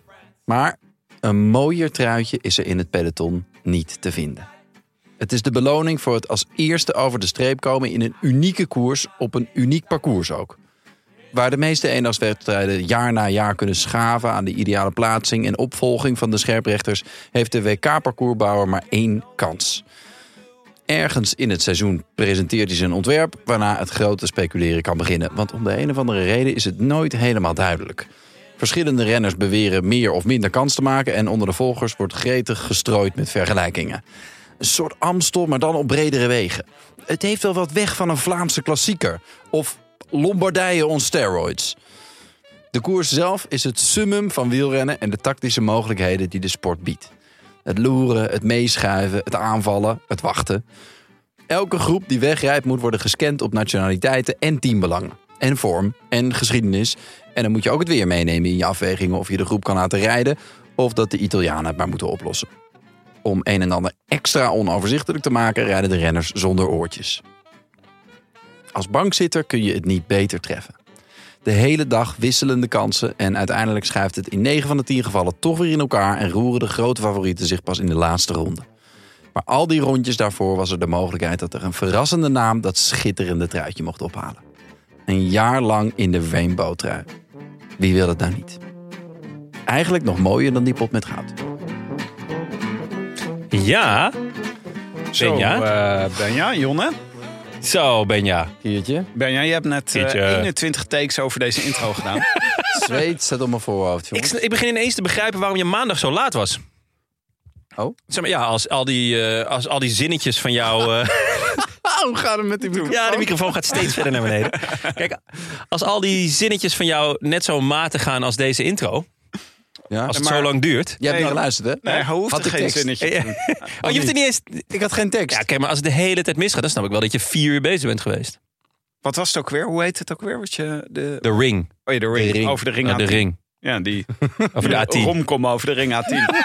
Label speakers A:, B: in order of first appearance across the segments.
A: Maar een mooier truitje is er in het peloton niet te vinden. Het is de beloning voor het als eerste over de streep komen in een unieke koers op een uniek parcours ook. Waar de meeste eendagswedstrijden jaar na jaar kunnen schaven aan de ideale plaatsing en opvolging van de scherprechters, heeft de WK-parcoursbouwer maar één kans. Ergens in het seizoen presenteert hij zijn ontwerp, waarna het grote speculeren kan beginnen. Want om de een of andere reden is het nooit helemaal duidelijk. Verschillende renners beweren meer of minder kans te maken en onder de volgers wordt gretig gestrooid met vergelijkingen. Een soort Amstel, maar dan op bredere wegen. Het heeft wel wat weg van een Vlaamse klassieker of Lombardije on steroids. De koers zelf is het summum van wielrennen en de tactische mogelijkheden die de sport biedt. Het loeren, het meeschuiven, het aanvallen, het wachten. Elke groep die wegrijdt moet worden gescand op nationaliteiten en teambelangen. En vorm en geschiedenis. En dan moet je ook het weer meenemen in je afwegingen of je de groep kan laten rijden of dat de Italianen het maar moeten oplossen. Om een en ander extra onoverzichtelijk te maken, rijden de renners zonder oortjes. Als bankzitter kun je het niet beter treffen. De hele dag wisselende kansen en uiteindelijk schuift het in 9 van de 10 gevallen toch weer in elkaar en roeren de grote favorieten zich pas in de laatste ronde. Maar al die rondjes daarvoor was er de mogelijkheid dat er een verrassende naam dat schitterende truitje mocht ophalen. Een jaar lang in de rainbow trui. Wie wil het nou niet? Eigenlijk nog mooier dan die pot met goud.
B: Ja,
C: Zo,
A: eh,
C: Benja, Benja Jonne.
B: zo Benja.
A: Hiertje.
C: Benja, je hebt net eh,
B: Jeetje.
C: 21 takes over deze intro gedaan.
A: Zweet staat op mijn voorhoofd,
B: Ik,
A: jongens.
B: sn- ik begin ineens te begrijpen waarom je maandag zo laat was.
A: Oh?
B: Zeg maar, ja, als al die, eh, als al die zinnetjes van jou... eh,
A: Hoe gaat het met die microfoon?
B: Ja, de microfoon gaat steeds verder naar beneden. Kijk, als al die zinnetjes van jou net zo matig gaan als deze intro,
A: Ja.
B: als het
C: Maar-
B: zo lang duurt.
A: Jij hebt
C: Nee,
A: niet geluisterd, hè?
C: Nee, hij hoeft
A: Had
C: er
A: ik
C: geen
A: tekst?
C: zinnetje te doen.
B: Oh, je hebt er niet eens.
A: Ik had geen tekst.
B: Ja, kijk, maar als het de hele tijd misgaat, dan snap ik wel dat je vier uur bezig bent geweest.
C: Wat was het ook weer? Hoe heet het ook weer? Wat je, de,
B: De ring.
C: oh ja, de ring.
A: ring.
C: Over de ring
B: Ja, de
C: A10.
B: ring.
C: Ja, die
B: Over de A10.
C: romkom over de ring A10.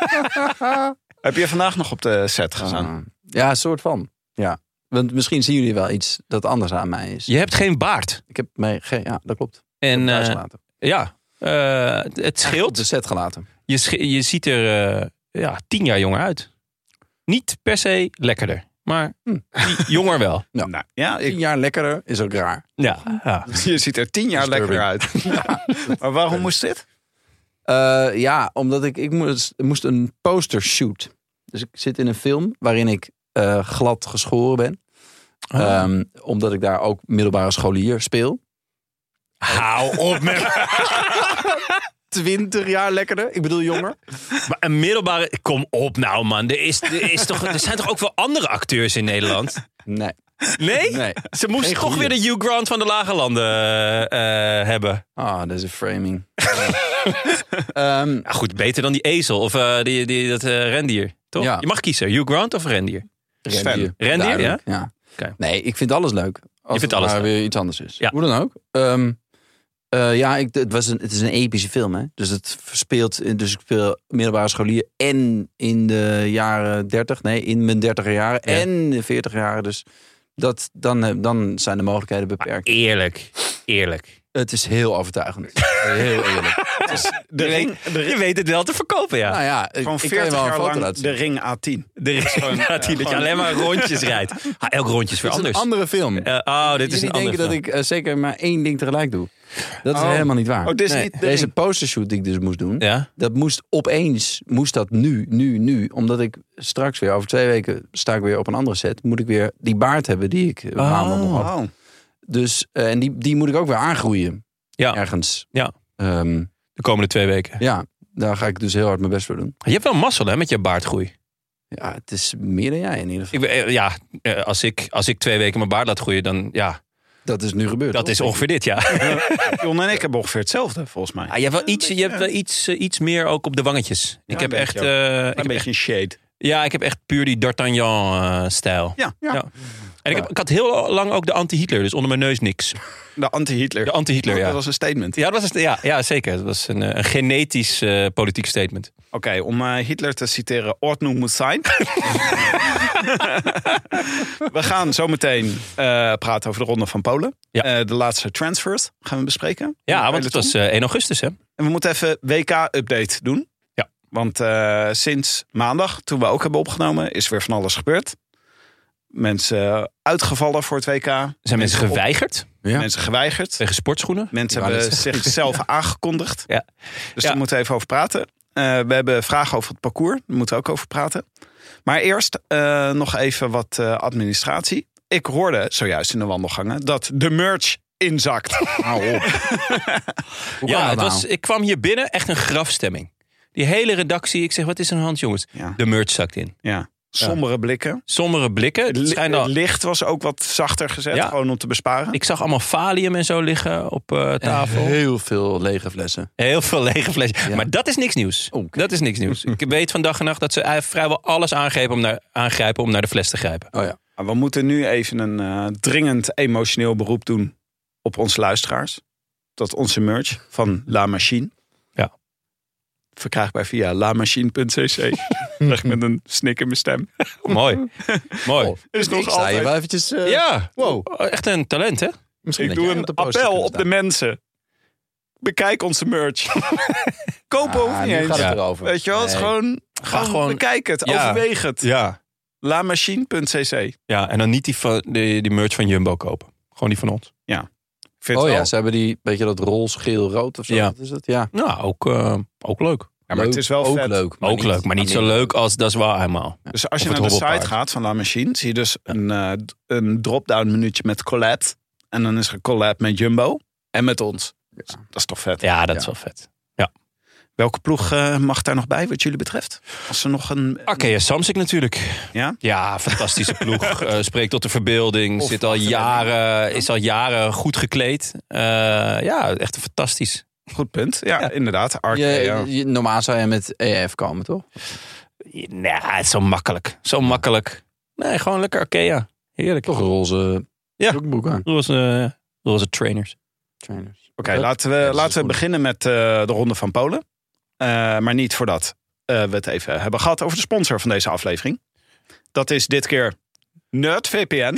C: Heb je vandaag nog op de set gestaan?
A: Ah. Ja, een soort van. Ja. Want misschien zien jullie wel iets dat anders aan mij is.
B: Je hebt geen baard.
A: Ik heb mij... ge- Ja, dat klopt.
B: En
A: Thuis
B: eh,
A: gelaten.
B: ja, eh, het
A: Op
B: scheelt.
A: de set gelaten.
B: Je, sch- je ziet er eh, ja, tien jaar jonger uit. Niet per se lekkerder, maar jonger wel.
A: Ja.
C: Nou, ja ik,
A: Tien jaar lekkerder is ook raar.
B: Ja, ja.
C: je ziet er tien jaar
A: Disturbing.
C: lekker uit. Maar waarom moest dit?
A: Eh, ja, omdat ik, ik moest, moest een poster shoot. Dus ik zit in een film waarin ik eh, glad geschoren ben. Ehm, omdat ik daar ook middelbare scholier speel.
B: Hou op met
A: 20 jaar lekkerder. Ik bedoel jonger.
B: Maar een middelbare... Kom op nou, man. Er, is, er, is toch, er zijn toch ook wel andere acteurs in Nederland?
A: Nee.
B: Nee?
A: Nee.
B: Ze moesten
A: Geen
B: toch
A: goeie.
B: weer de Hugh Grant van de lage landen eh, eh, hebben.
A: Ah, dat is een framing. Ehm,
B: Ja, goed, beter dan die ezel of eh, die, die, dat eh, rendier. Toch?
A: Ja.
B: Je mag kiezen. Hugh Grant of rendier?
A: rendier.
B: Rendier,
A: Duidelijk, ja.
B: Oké.
A: Nee, ik vind alles leuk. Als
B: vindt
A: het
B: alles
A: maar
B: leuk.
A: weer iets anders is.
B: Ja.
A: Hoe dan ook. Ehm, eh, ja, ik, het, was een, het is een epische film. Hè? Dus het speelt. Dus ik speel middelbare scholier. En in de jaren 30. Nee, in mijn 30 jaren.
B: Ja.
A: En de 40 jaren. Dus dat, dan, eh, dan zijn de mogelijkheden beperkt.
B: Eerlijk. Eerlijk.
A: Het is heel overtuigend. heel eerlijk. Het is-
C: De ring,
B: Je
C: de ring,
B: weet het wel te verkopen, ja.
A: nou ja, ik,
C: gewoon
A: ik kan je
C: 40
A: wel een
C: jaar
A: foto
C: lang
A: laten zien.
C: de ring A10.
B: de ring dat je
C: gewoon-
B: alleen maar rondjes rijdt. Ah, elk rondje is weer
A: Het is een
B: anders.
A: andere film.
B: Eh, oh, dit is een
A: Jullie denken
B: andere
A: dat
B: film.
A: ik eh, zeker maar één ding tegelijk doe. Dat is
C: Oh.
A: helemaal niet waar.
C: Oh, dit is niet de
A: Deze
C: ring.
A: postershoot die ik dus moest doen,
B: Ja?
A: dat moest opeens, moest dat nu, nu, nu. Omdat ik straks weer, over twee weken sta ik weer op een andere set, moet ik weer die baard hebben die ik eh, een paar maanden nog had.
C: Oh.
A: Dus, eh, en die, die moet ik ook weer aangroeien.
B: Ja.
A: Ergens.
B: Ja.
A: Ehm,
B: De komende twee weken.
A: ja, daar ga ik dus heel hard mijn best voor doen.
B: Je hebt wel mazzel, hè, met je baardgroei.
A: Ja, het is meer dan jij in ieder geval.
B: Ik, ben- eh, ja, eh, als ik, als ik twee weken mijn baard laat groeien, dan ja,
A: Dat is nu gebeurd.
B: dat
A: toch?
B: is ongeveer dit, ja.
C: Jon en ik hebben ongeveer hetzelfde, volgens mij.
B: Ah, je hebt wel, iets, je hebt wel iets, eh, iets meer ook op de wangetjes. Ik
C: een
B: heb
C: beetje
B: echt,
C: ook.
B: eh, ik
C: een
B: heb echt-
C: beetje een shade.
B: ja, ik heb echt puur die eh, D'Artagnan-stijl.
C: Ja,
B: ja. En ik, heb, ik had heel lang ook de anti-Hitler, dus onder mijn neus niks.
C: de anti-Hitler.
B: De anti-Hitler, ja.
C: Dat was een statement.
B: Ja, dat was, een- ja, ja zeker. Dat was een, eh, een genetisch eh, politiek statement.
C: Oké, om eh, Hitler te citeren, Ordnung moet zijn. we gaan zometeen eh, praten over de Ronde van Polen.
B: Ja.
C: Eh, de laatste transfers gaan we bespreken.
B: Ja, want het
C: het
B: was eh, 1 augustus, hè?
C: En we moeten even WK-update doen.
B: Ja.
C: Want eh, sinds maandag, toen we ook hebben opgenomen, is weer van alles gebeurd. Mensen eh, uitgevallen voor het WK.
B: Zijn mensen
C: op-
B: geweigerd
A: Ja.
C: Mensen geweigerd.
B: tegen sportschoenen?
C: Mensen
A: Ik wou
C: hebben zichzelf aangekondigd.
B: Ja.
C: Dus
B: Ja.
C: daar moeten we even over praten. Eh, we hebben vragen over het parcours. Daar moeten we ook over praten. Maar eerst eh, nog even wat eh, administratie. Ik hoorde zojuist in de wandelgangen dat de merch inzakt.
A: Hou op. Hoe kan
B: ja,
A: dat
B: het
A: nou?
B: was, ik kwam hier binnen, echt een grafstemming. Die hele redactie, ik zeg, wat is er aan de hand, jongens?
C: Ja.
B: De merch zakt in.
C: Ja. Sombere blikken.
B: Sommige blikken. Het
C: Li-
B: schijnt al-
C: het licht was ook wat zachter gezet,
B: Ja.
C: gewoon om te besparen.
B: ik zag allemaal falium en zo liggen op eh, tafel.
A: Heel veel lege flessen.
B: Heel veel lege flesjes.
A: Ja.
B: Maar dat is niks nieuws.
A: Oh, oké.
B: Dat is niks nieuws. ik weet van dag en nacht dat ze eh, vrijwel alles aangrepen om naar, aangrijpen om naar de fles te grijpen.
A: Oh ja.
C: Maar We moeten nu even een eh, dringend emotioneel beroep doen op onze luisteraars. Dat onze merch van La Machine.
B: Ja.
C: Verkrijgbaar via lamachine.cc. Echt met een snik in mijn stem.
B: Mooi. Mooi.
A: Oh,
C: Is nog
A: ik sta
C: altijd-
A: hier wel eventjes... eh,
B: Ja, Oh,
A: Wow.
B: echt een talent, hè?
A: Misschien
C: Ik
A: dat
C: doe
A: jij
C: een
A: op de poster
C: appel
A: kunt
C: op de
A: staan.
C: mensen. Bekijk onze merch.
A: Ah,
C: Kopen hoeft niet
A: nu
C: eens.
A: gaat het
B: Ja.
A: erover.
C: Weet je wel, het is
A: Nee.
C: gewoon, gewoon,
B: gewoon-
C: bekijk het,
B: Ja.
C: overweeg het.
B: Ja.
C: Lamachine.cc. Ik
B: Ja, en dan niet die, van, die, die merch van Jumbo kopen. Gewoon die van ons.
C: vind
A: Oh
C: wel-
A: ja, ze hebben die, weet je, dat roze, geel, rood of zo.
B: Ja.
A: Wat is het? Ja.
B: Nou, ook, eh, ook leuk.
C: Ja, maar het is wel
A: ook
C: vet.
A: leuk.
B: ook leuk, maar niet zo leuk als Dat is waar helemaal.
C: Dus als je
B: Of
C: naar
B: het
C: de site
B: hobbelpaard.
C: gaat van La Machine, zie je dus een, eh, d- een drop-down minuutje met collab. En dan is er een collab met Jumbo en met ons. Dus Dat is toch vet.
B: Ja, dat
A: is
B: is wel vet.
C: Welke ploeg eh, mag daar nog bij, wat jullie betreft? Als er nog een.
B: Arkea Samsic eh, natuurlijk.
C: Ja?
B: Ja, fantastische ploeg. Eh, spreekt tot de verbeelding.
C: Of
B: Zit al
C: achterlijn.
B: jaren, is al jaren goed gekleed. Eh, ja, echt fantastisch.
C: Goed punt. Ja, inderdaad. Ark,
A: Je,
C: ja.
A: je- normaal zou je met EF komen, toch?
B: Nee, het is zo makkelijk. Zo makkelijk. Nee, gewoon lekker Arkea. Heerlijk.
A: Toch roze
B: Ja.
A: joggingbroek aan.
B: Roze, roze trainers.
A: Trainers.
C: Oké,
A: Ja,
C: laten we,
A: dat is
C: laten
A: goed.
C: we beginnen met eh, de Ronde van Polen. Eh, maar niet voordat eh, we het even hebben gehad over de sponsor van deze aflevering. Dat is dit keer NerdVPN.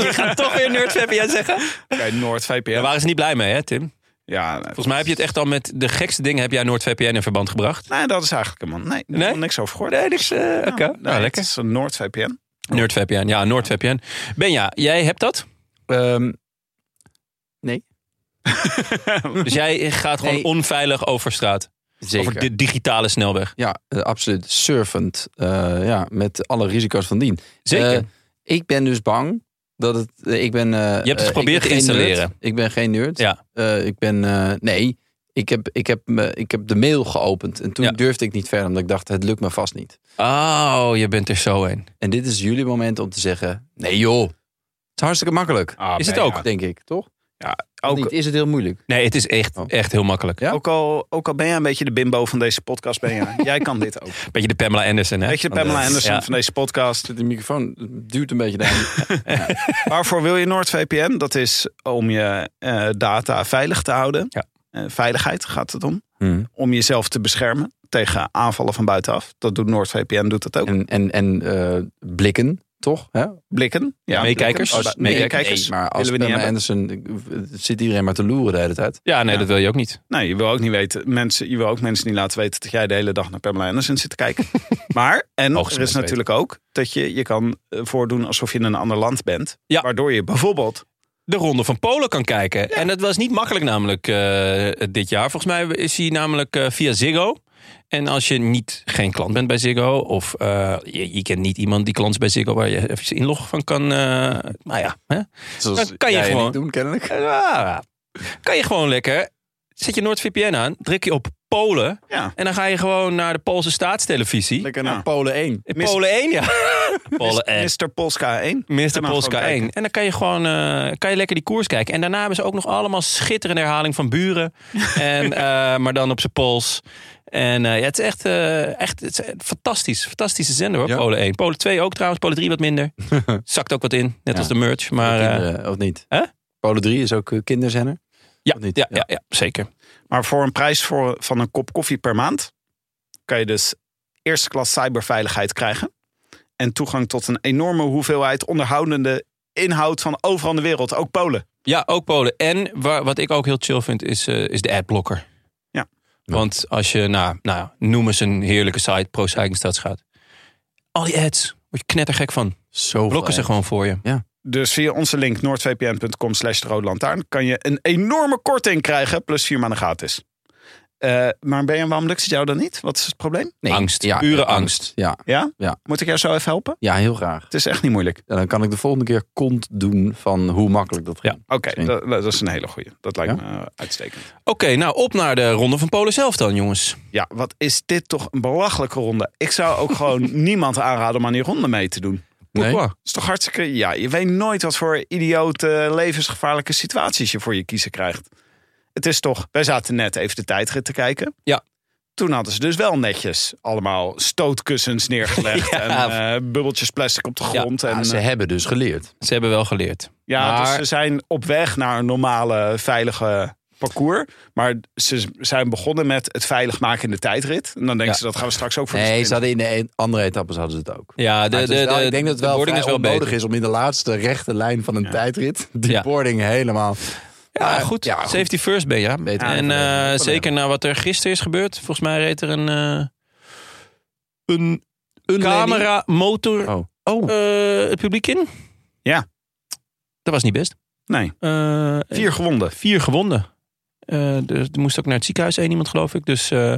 B: Je gaat toch weer NerdVPN zeggen?
C: Oké, NoordVPN.
B: Daar waren ze niet blij mee, hè, Tim?
C: Ja,
B: Volgens mij heb je het echt al met de gekste dingen... heb jij NoordVPN in verband gebracht.
C: Nee, dat is eigenlijk helemaal. Nee, daar
B: Nee?
C: heb ik niks over gehoord.
B: Nee, niks. eh, Oké,
C: Ja,
B: nou,
C: nee,
B: lekker.
C: Het is een NoordVPN.
B: NerdVPN, ja, NoordVPN. Benja, jij hebt dat?
A: Ehm,
B: Dus jij gaat gewoon
A: Nee.
B: onveilig over straat.
A: zeker.
B: Over de digitale snelweg.
A: Ja, eh, absoluut. Surfend. eh, ja, met alle risico's van dien.
B: Zeker.
A: Eh, ik ben dus bang dat het. eh, Ik ben. eh,
B: het
A: eh,
B: geprobeerd
A: ik ben
B: te
A: geen
B: installeren.
A: nerd. Ik ben geen nerd.
B: Ja.
A: Eh, ik ben. eh, nee, ik heb, ik, heb, me- ik heb de mail geopend. En toen
B: Ja.
A: durfde ik niet verder, omdat ik dacht: het lukt me vast niet.
B: Oh, je bent er zo een.
A: En dit is jullie moment om te zeggen: nee, joh. Het is hartstikke makkelijk.
B: Is het ook?
A: Denk ik, toch? Ah, Ook,
C: Ook,
A: Is het heel moeilijk?
B: Nee, het is echt,
A: Oh.
B: echt heel makkelijk.
A: Ja?
C: ook, al, ook al ben jij een beetje de bimbo van deze podcast, ben jij, jij kan dit ook.
B: Beetje de Pamela Anderson, hè?
C: Weet je de
A: Want,
C: Pamela
A: eh,
C: Anderson
B: ja.
C: van deze podcast.
A: De microfoon duwt een beetje daar.
C: Waarvoor wil je NoordVPN? Dat is om je eh, data veilig te houden.
B: Ja. Hmm.
C: Eh, veiligheid gaat het om. Om jezelf te beschermen tegen aanvallen van buitenaf. Dat doet NoordVPN, doet dat ook.
A: En, en, en eh, blikken, toch? Hè?
C: Blikken. Ja,
B: Meekijkers?
C: blikken. Oh,
B: Nee,
C: meekijkers.
A: nee, maar als
C: willen we niet
A: Pamela
C: hebben.
A: Anderson eh, zit iedereen maar te loeren de hele tijd.
B: Ja, nee,
C: Ja.
B: dat wil je ook niet.
C: Nou, je wil ook niet weten. Mensen, je wil ook mensen niet laten weten dat jij de hele dag naar Pamela Anderson zit te kijken. maar, en er
B: Hoogstens
C: is natuurlijk ook dat je je kan eh, voordoen alsof je in een ander land bent.
B: Ja.
C: Waardoor je bijvoorbeeld.
B: De Ronde van Polen kan kijken. En dat was niet makkelijk namelijk eh, dit jaar. Volgens mij is hij namelijk eh, via Ziggo. En als je niet geen klant bent bij Ziggo... of eh, je, je kent niet iemand die klant is bij Ziggo... waar je even inlog van kan... eh nou ja, hè?
A: Zoals
B: Dan kan je
A: jij en ik
B: gewoon-
A: doen, kennelijk.
B: Ja. kan je gewoon lekker. Zet je NoordVPN aan, druk je op Polen.
C: Ja.
B: En dan ga je gewoon naar de Poolse staatstelevisie.
A: Lekker
C: Ja.
A: naar Polen 1.
B: Eh,
C: mis-
B: Polen 1, ja. Polen 1.
C: Mr. Polska 1.
B: Mr.
C: dan
B: Polska
C: gewoon
B: 1.
C: kijken.
B: En dan kan je gewoon eh, kan je lekker die koers kijken. En daarna hebben ze ook nog allemaal schitterende herhaling van buren. en, eh, maar dan op zijn pols. En eh, ja, het is echt, eh, echt het is echt fantastisch. Fantastische zender hoor,
A: Ja.
B: Polen 1. Polen 2 ook trouwens, Polen 3 wat minder. Zakt ook wat in, net
A: Ja.
B: als de merch. Maar eh,
A: Kinderen, of niet?
B: hè?
A: Polen 3 is ook eh, kinderzender.
B: ja,
A: Of niet?
B: ja,
A: Ja.
B: ja, ja, zeker.
C: Maar voor een prijs voor, van een kop koffie per maand kan je dus eerste klas cyberveiligheid krijgen. En toegang tot een enorme hoeveelheid onderhoudende inhoud van overal in de wereld, ook Polen.
B: Ja, ook Polen. En wa- wat ik ook heel chill vind, is, eh, is de adblocker.
C: Ja.
B: Want als je, nou, nou ja, noem eens een heerlijke site, pro-cyclingstads gaat. Al die ads, word je knettergek van.
A: Zo
B: Blokken ze gewoon voor je.
C: Dus via onze link noordvpn.com slash de rode lantaarn kan je een enorme korting krijgen, plus vier maanden gratis. Eh, maar ben je waarom lukt het jou dan niet? Wat is het probleem?
B: Angst, pure angst.
A: Ja.
C: Ja?
A: Ja.
C: Moet ik jou zo even helpen?
A: ja, heel graag.
C: Het is echt niet moeilijk.
A: En dan kan ik de volgende keer kont doen van hoe makkelijk dat ging.
C: Oké,
A: Misschien.
C: dat, dat is een hele goeie. Dat lijkt
A: Ja?
C: me eh, uitstekend.
B: Oké, nou op naar de Ronde van Polen zelf dan, jongens.
C: Ja, wat is dit toch een belachelijke ronde. Ik zou ook gewoon niemand aanraden om aan die ronde mee te doen.
A: Nee?
B: Pourquoi?
C: Het is toch hartstikke. Ja, je weet nooit wat voor idiote, eh, levensgevaarlijke situaties je voor je kiezen krijgt. Het is toch. Wij zaten net even de tijdrit te kijken.
B: Ja.
C: Toen hadden ze dus wel netjes allemaal stootkussens neergelegd.
B: Ja.
C: En eh, bubbeltjes plastic op de grond.
A: Ja,
C: en, eh,
A: ze hebben dus geleerd.
B: Ze hebben wel geleerd.
C: ja, dus
B: maar-
C: ze zijn op weg naar een normale, veilige parcours. Maar ze zijn begonnen met het veilig maken in de tijdrit. En dan denken
B: Ja.
C: ze dat gaan we straks ook voor de
A: Nee,
C: sprint
A: ze hadden in de een- andere etappes hadden ze het ook.
B: Ja, de,
A: Maar
B: de,
A: het is wel-
B: de-
A: ik denk dat
B: de
A: het wel
B: wording
A: vrij
B: is wel
A: onnodig
B: beter.
A: is om in de laatste rechte lijn van een tijdrit die
B: Ja.
A: boarding helemaal.
B: Ja,
A: Maar
B: goed.
A: Ja, goed.
B: Safety first ben je. ja.
A: Beter
B: en
A: even,
B: eh,
A: eh, van
B: zeker na wat er gisteren is gebeurd. Volgens mij reed er een, eh, een, camera motor
A: Oh.
B: eh, het publiek in.
C: Ja.
B: Dat was niet best.
C: Nee.
B: Eh,
C: Vier gewonden.
B: vier gewonden. Eh, dus er moest ook naar het ziekenhuis één iemand, geloof ik. Dus eh,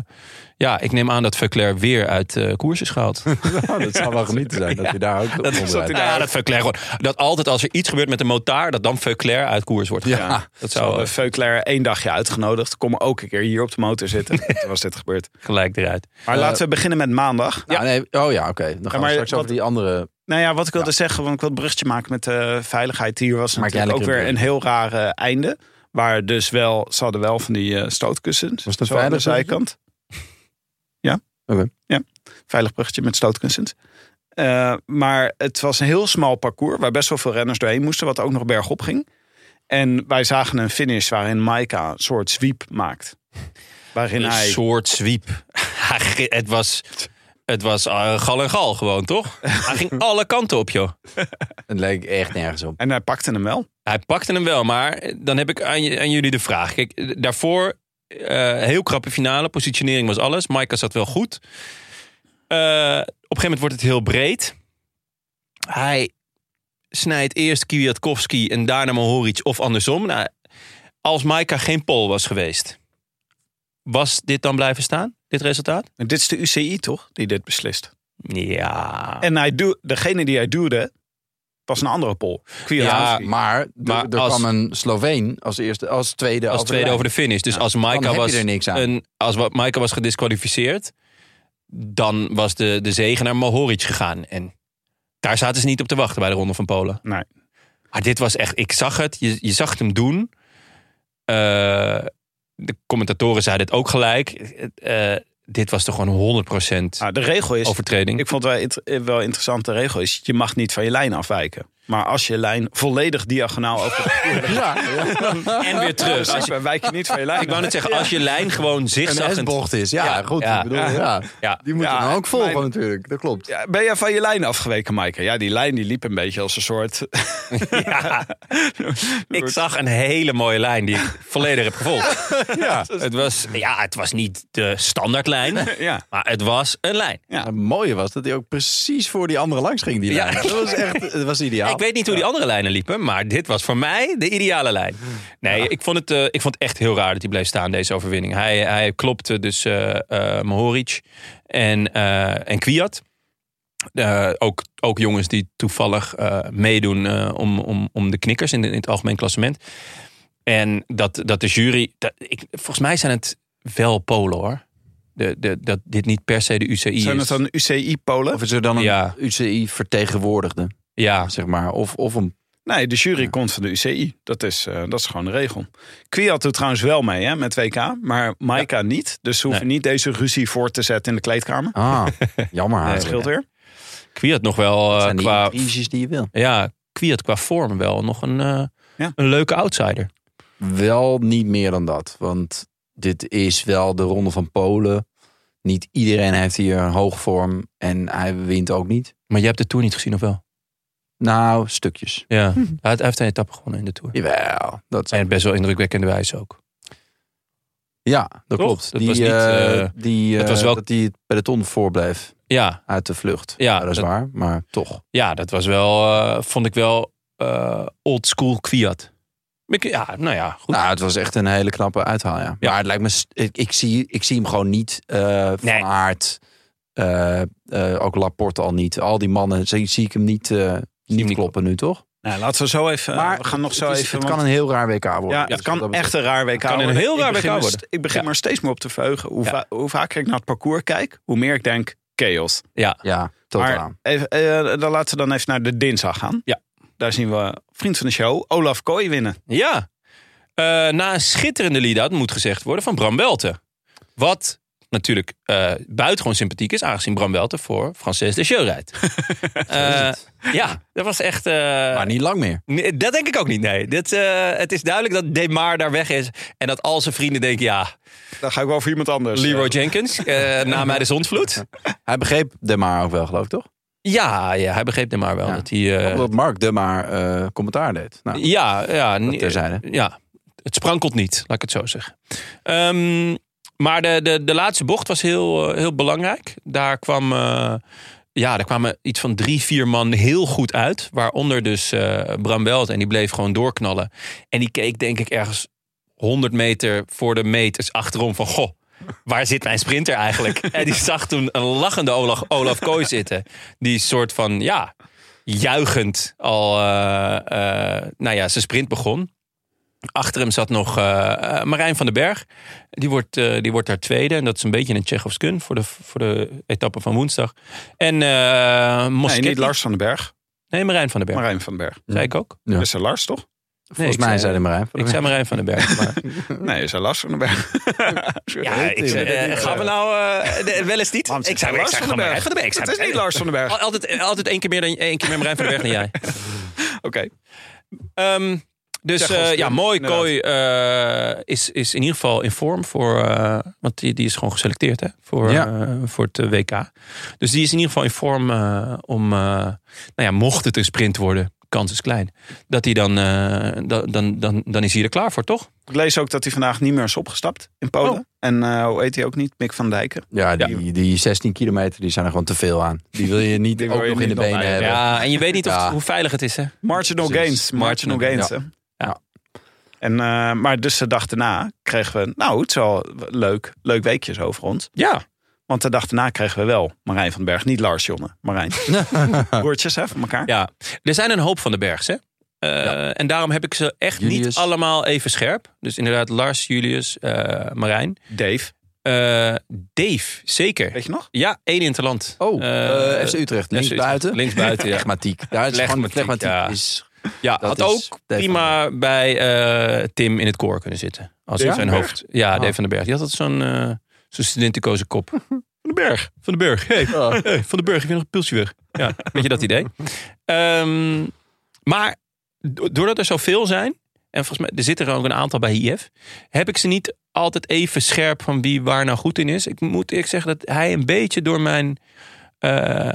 B: ja, ik neem aan dat Verclair weer uit eh, koers is gehaald.
A: Nou, dat zal wel genieten zijn dat je daar ook op onderuit.
B: ja, dat Verclair gewoon. Dat altijd als er iets gebeurt met de motaar, dat dan Verclair uit koers wordt gehaald.
A: Ja,
B: dat
C: Zo
B: zou eh,
C: hebben Veuclair één dagje uitgenodigd. Kom ook een keer hier op de motor zitten. Toen was dit gebeurd.
B: gelijk eruit.
C: Maar laten we beginnen met maandag.
A: Nou, nee, oh ja, oké. Dan gaan
C: maar
A: we straks
C: wat-
A: over die andere.
C: Nou ja, wat ik wilde zeggen, want ik wil het bruggetje maken met de veiligheid. Hier was
A: Maak jij
C: natuurlijk ook
A: lekker
C: weer een
A: een
C: heel raar eh, einde. Waar dus wel, ze hadden wel van die eh,
A: Was
C: stootkussens.
A: het een
C: zo aan de
A: veilig bruggetje?
C: zijkant. Ja.
A: Oké.
C: Ja, veilig bruggetje met stootkussens. Eh, maar het was een heel smal parcours waar best wel veel renners doorheen moesten, wat ook nog bergop ging. En wij zagen een finish waarin Maika een soort sweep maakt. Waarin
B: Een
C: hij
B: soort sweep. Hij ge- het was, het was eh, gal en gal gewoon, toch? Hij ging alle kanten op, joh.
A: Het leek echt nergens op.
C: En hij pakte hem wel.
B: Hij pakte hem wel, maar eh, dan heb ik aan, je- aan jullie de vraag. Kijk, eh, daarvoor eh, heel krappe finale. Positionering was alles. Maaika zat wel goed. Eh, op een gegeven moment wordt het heel breed. Hij snijdt eerst Kwiatkowski en daarna Mohoric of andersom. Nou, als Maaika geen pol was geweest, was dit dan blijven staan, dit resultaat?
C: En dit is de UCI toch, die dit beslist.
B: Ja.
C: En hij duw, degene die hij duwde, was een andere pol.
A: Ja,
C: Kwiatkowski.
A: Ah, maar er,
B: Maar
A: er
B: als-
A: kwam een Sloveen als, eerste, als tweede.
B: als
A: over de
B: tweede
A: lijn.
B: over de finish. Dus als
A: dan
B: Maika
A: heb je
B: was,
A: er niks aan.
B: een- als wa- Maika was gedisqualificeerd, dan was de, de zegen naar Mohoric gegaan. En daar zaten ze niet op te wachten bij de Ronde van Polen.
C: Nee.
B: Maar dit was echt, ik zag het, je, je zag het hem doen. Eh, de commentatoren zeiden het ook gelijk. Eh, dit was toch gewoon 100%
A: Ah,
C: Nou, de regel is,
B: overtreding.
C: ik vond wel, int- eh, wel interessant, de regel is, je mag niet van je lijn afwijken. Maar als je lijn volledig diagonaal over de parcours ligt,
B: en weer terug. Als je-
C: dan wijk je niet van je lijn
B: ik wou net zeggen, als je lijn gewoon
A: een
B: zigzaggend...
A: S-bocht is. Ja,
B: Ja,
A: goed.
B: ja.
A: ik bedoel, ja.
B: Ja.
A: Die moet
C: Ja,
A: je dan ook volgen
C: mijn-
A: natuurlijk. Dat klopt.
C: Ja, ben jij van je lijn afgeweken, Maaike? Ja, die lijn die liep een beetje als een soort...
B: Ja. Ik zag een hele mooie lijn die ik volledig heb gevolgd. Ja. Het, was, ja, het was niet de standaardlijn,
C: ja.
B: maar het was een lijn.
C: Ja.
A: Het mooie was dat hij ook precies voor die andere langs ging. Die
B: Ja.
A: lijn. Dat was echt dat was ideaal.
B: Ik weet niet hoe die andere lijnen liepen, maar dit was voor mij de ideale lijn. Nee, ik, vond het, eh, ik vond het echt heel raar dat hij bleef staan, deze overwinning. Hij, hij klopte dus eh eh, Mohoric en, eh en Kwiat. Eh, ook, ook jongens die toevallig eh, meedoen eh, om, om, om de knikkers in, de- in het algemeen klassement. En dat, dat de jury... Dat, ik, volgens mij zijn het wel Polen, hoor. De, de, dat dit niet per se de UCI
C: Zijn
B: is.
C: het dan UCI-polen?
A: Of is er dan een
B: Ja.
A: UCI-vertegenwoordigde,
B: Ja,
A: zeg maar. Of, of een...
C: Nee, de jury komt van de UCI. Dat is, eh, dat is gewoon de regel. Kwiat doet trouwens wel mee hè, met WK, maar Maika niet. Dus ze hoeven niet deze ruzie voor te zetten in de kleedkamer.
A: Ah, jammer.
C: Dat
A: eigenlijk.
C: scheelt weer.
B: Kwiat nog wel eh,
A: zijn die
B: qua
A: intriges die je wil.
B: ja, Kwiat qua vorm wel nog een, eh,
C: Ja.
B: een leuke outsider.
A: Wel niet meer dan dat. Want dit is wel de Ronde van Polen. Niet iedereen heeft hier een hoogvorm. En hij wint ook niet.
B: Maar je hebt de Tour niet gezien of wel?
A: Nou, stukjes.
B: Ja, hij, heeft- hij heeft een etappe gewonnen in de Tour.
A: Jawel. Dat
B: En best wel indrukwekkende wijze ook.
A: Ja, dat
B: Toch?
A: klopt.
B: Dat
A: die,
B: was niet,
A: eh,
B: eh,
A: die,
B: dat
A: eh,
B: was wel-
A: dat die het peloton voorbleef
B: Ja,
A: uit de vlucht.
B: Ja,
A: dat is
B: dat-
A: waar, maar toch.
B: ja dat was wel, eh, vond ik wel eh, old school Kwiat. Ik- Ja, nou ja, goed.
A: Nou, het was echt een hele knappe uithaal, ja.
B: Ja.
A: Maar het lijkt me, s- ik, ik zie, ik zie hem gewoon niet eh van
B: Nee.
A: aard. eh, eh, ook Laporte al niet. Al die mannen zie, zie ik hem niet, eh, niet
B: niet
A: kloppen nu, toch?
C: Nou, laten we zo even.
A: Maar
C: we gaan nog zo
A: het is-
C: even.
A: het kan een heel raar WK worden.
C: ja,
A: Dus
C: het
A: wat dat
C: kan
A: betreft-
C: echt een raar WK
B: kan een
C: worden.
B: heel
C: Ik
B: raar
C: begin
B: WK
C: me st-
B: worden.
C: Ik begin
B: Ja.
C: maar steeds meer op te veugen. Hoe,
B: Ja.
C: va- hoe vaker ik naar het parcours kijk, hoe meer ik denk chaos.
A: Ja, totaal.
C: Maar even, eh, dan laten we dan even naar de dinsdag gaan.
B: Ja.
C: Daar zien we vriend van de show, Olaf Kooi winnen.
B: Ja. Eh, na een schitterende lead-out moet gezegd worden van Bram Welten. Wat natuurlijk eh buitengewoon sympathiek is, aangezien Bram Welten voor Frances de Show rijdt. Eh, ja, dat was echt... eh,
A: maar niet lang meer.
B: Nee, dat denk ik ook niet, nee. Dit, eh, het is duidelijk dat Demar daar weg is. En dat al zijn vrienden denken, ja,
C: Dan ga ik wel voor iemand anders.
B: Leroy Jenkins, eh, na mij de zonsvloed.
A: Hij begreep De Maar ook wel, geloof ik, toch?
B: Ja, ja hij begreep Demar wel.
A: Ja.
B: Dat hij, eh,
A: Omdat Mark De Maar eh, commentaar deed. Nou,
B: ja, ja, ni-
A: terzijde.
B: ja, het sprankelt niet, laat ik het zo zeggen. Ehm, maar de, de, de laatste bocht was heel, eh, heel belangrijk. Daar kwam... eh, ja, daar kwamen iets van drie, vier man heel goed uit. Waaronder dus eh Bram Belt. En die bleef gewoon doorknallen. En die keek denk ik ergens 100 meter voor de meters achterom van... Goh, waar zit mijn sprinter eigenlijk? en die zag toen een lachende Olaf, Olaf Kooi zitten. Die soort van, ja, juichend al... eh, eh, nou ja, zijn sprint begon. Achter hem zat nog eh, eh, Marijn van den Berg. Die wordt, eh, die wordt daar tweede. En dat is een beetje een Tsjechovs kun voor de, voor de etappe van woensdag. En eh
C: Nee,
B: Moschetti.
C: niet Lars van den Berg,
B: Nee, Marijn van den Berg.
C: Marijn van den Berg.
B: Zei ik ook?
A: Ja.
C: Is er Lars toch?
A: volgens
B: ik
A: mij
B: zei-
A: zei De Maar.
B: Ik zei Marijn van den Berg. Maar...
C: Nee, is er Lars van den Berg.
B: ja, ik zei, eh, gaan we nou eh, de- wel eens niet?
C: Waarom
B: Ik
C: zeg
B: zei
C: je
B: ik
C: Lars
B: zei
C: van
B: gewoon
C: den
B: Marijn
C: Berg?
B: van den Berg. Ik zei-
C: Het is niet Lars van den Berg.
B: Al- Altijd, eh, altijd één keer meer dan één keer meer Marijn van den Berg dan jij.
C: Oké.
B: Ehm, dus
C: Zeg, als
B: eh,
C: je-
B: ja, mooi.
C: inderdaad.
B: Kooi eh, is, is in ieder geval in vorm voor. eh, want die, die is gewoon geselecteerd hè, voor,
A: Ja.
B: eh, voor het eh, WK. Dus die is in ieder geval in vorm eh, om. eh, nou ja, mocht het een sprint worden, kans is klein. Dat hij dan, eh, dan, dan, dan, dan is hij er klaar voor, toch?
C: Ik lees ook dat hij vandaag niet meer is opgestapt in Polen.
B: Oh.
C: En eh, hoe heet hij ook niet? Mick van Dijken.
A: Ja, die, die 16 kilometer die zijn er gewoon te veel aan. Die wil je niet
C: Die wil
A: ook
C: je
A: nog in de
C: niet
A: benen
C: oprijden.
A: hebben.
B: Ja, en je weet niet of,
A: Ja.
B: hoe veilig het is, hè?
C: Marginal
A: Precies.
C: gains. Marginal gains,
A: Ja.
C: hè?
B: Ja.
C: En, eh, maar dus de dag daarna kregen we... Nou, het is wel leuk, leuk weekje zo voor ons.
B: Ja.
C: Want de dag daarna kregen we wel Marijn van den Berg. Niet Lars Jonne, Marijn. Broertjes hè, van elkaar.
B: Ja, er zijn een hoop van de Bergs, hè? Eh, En daarom heb ik ze echt
A: Julius.
B: niet allemaal even scherp. Dus inderdaad, Lars, Julius, eh, Marijn.
C: Dave,
B: Eh, Dave, zeker.
C: weet je nog?
B: Ja, één Interland.
A: Oh,
B: Eh,
A: eh, FC Utrecht. Links
B: Utrecht.
A: buiten.
B: Linksbuiten, ja.
A: Flegmatiek. Daar is gewoon
B: Flegmatiek,
A: flegmatiek.
B: ja.
A: Is,
B: Ja,
A: Dat
B: had
A: is
B: ook
A: Dave
B: prima bij eh, Tim in het koor kunnen zitten. Als
C: Dave
B: in
C: van
B: zijn
C: den
B: hoofd. Ja,
A: Ah.
B: Dave van den Berg. Die had altijd zo'n eh zo'n studentenkozen kop. Van den Berg. Van den Berg. Hey.
A: Ah.
B: hey, Van den Berg, heb je nog een pilsje weg? Ja, weet je dat idee? Ehm, maar do- doordat er zoveel zijn... En volgens mij, er zitten er ook een aantal bij IF. Heb ik ze niet altijd even scherp van wie waar nou goed in is. Ik moet eerlijk zeggen dat hij een beetje door mijn... eh,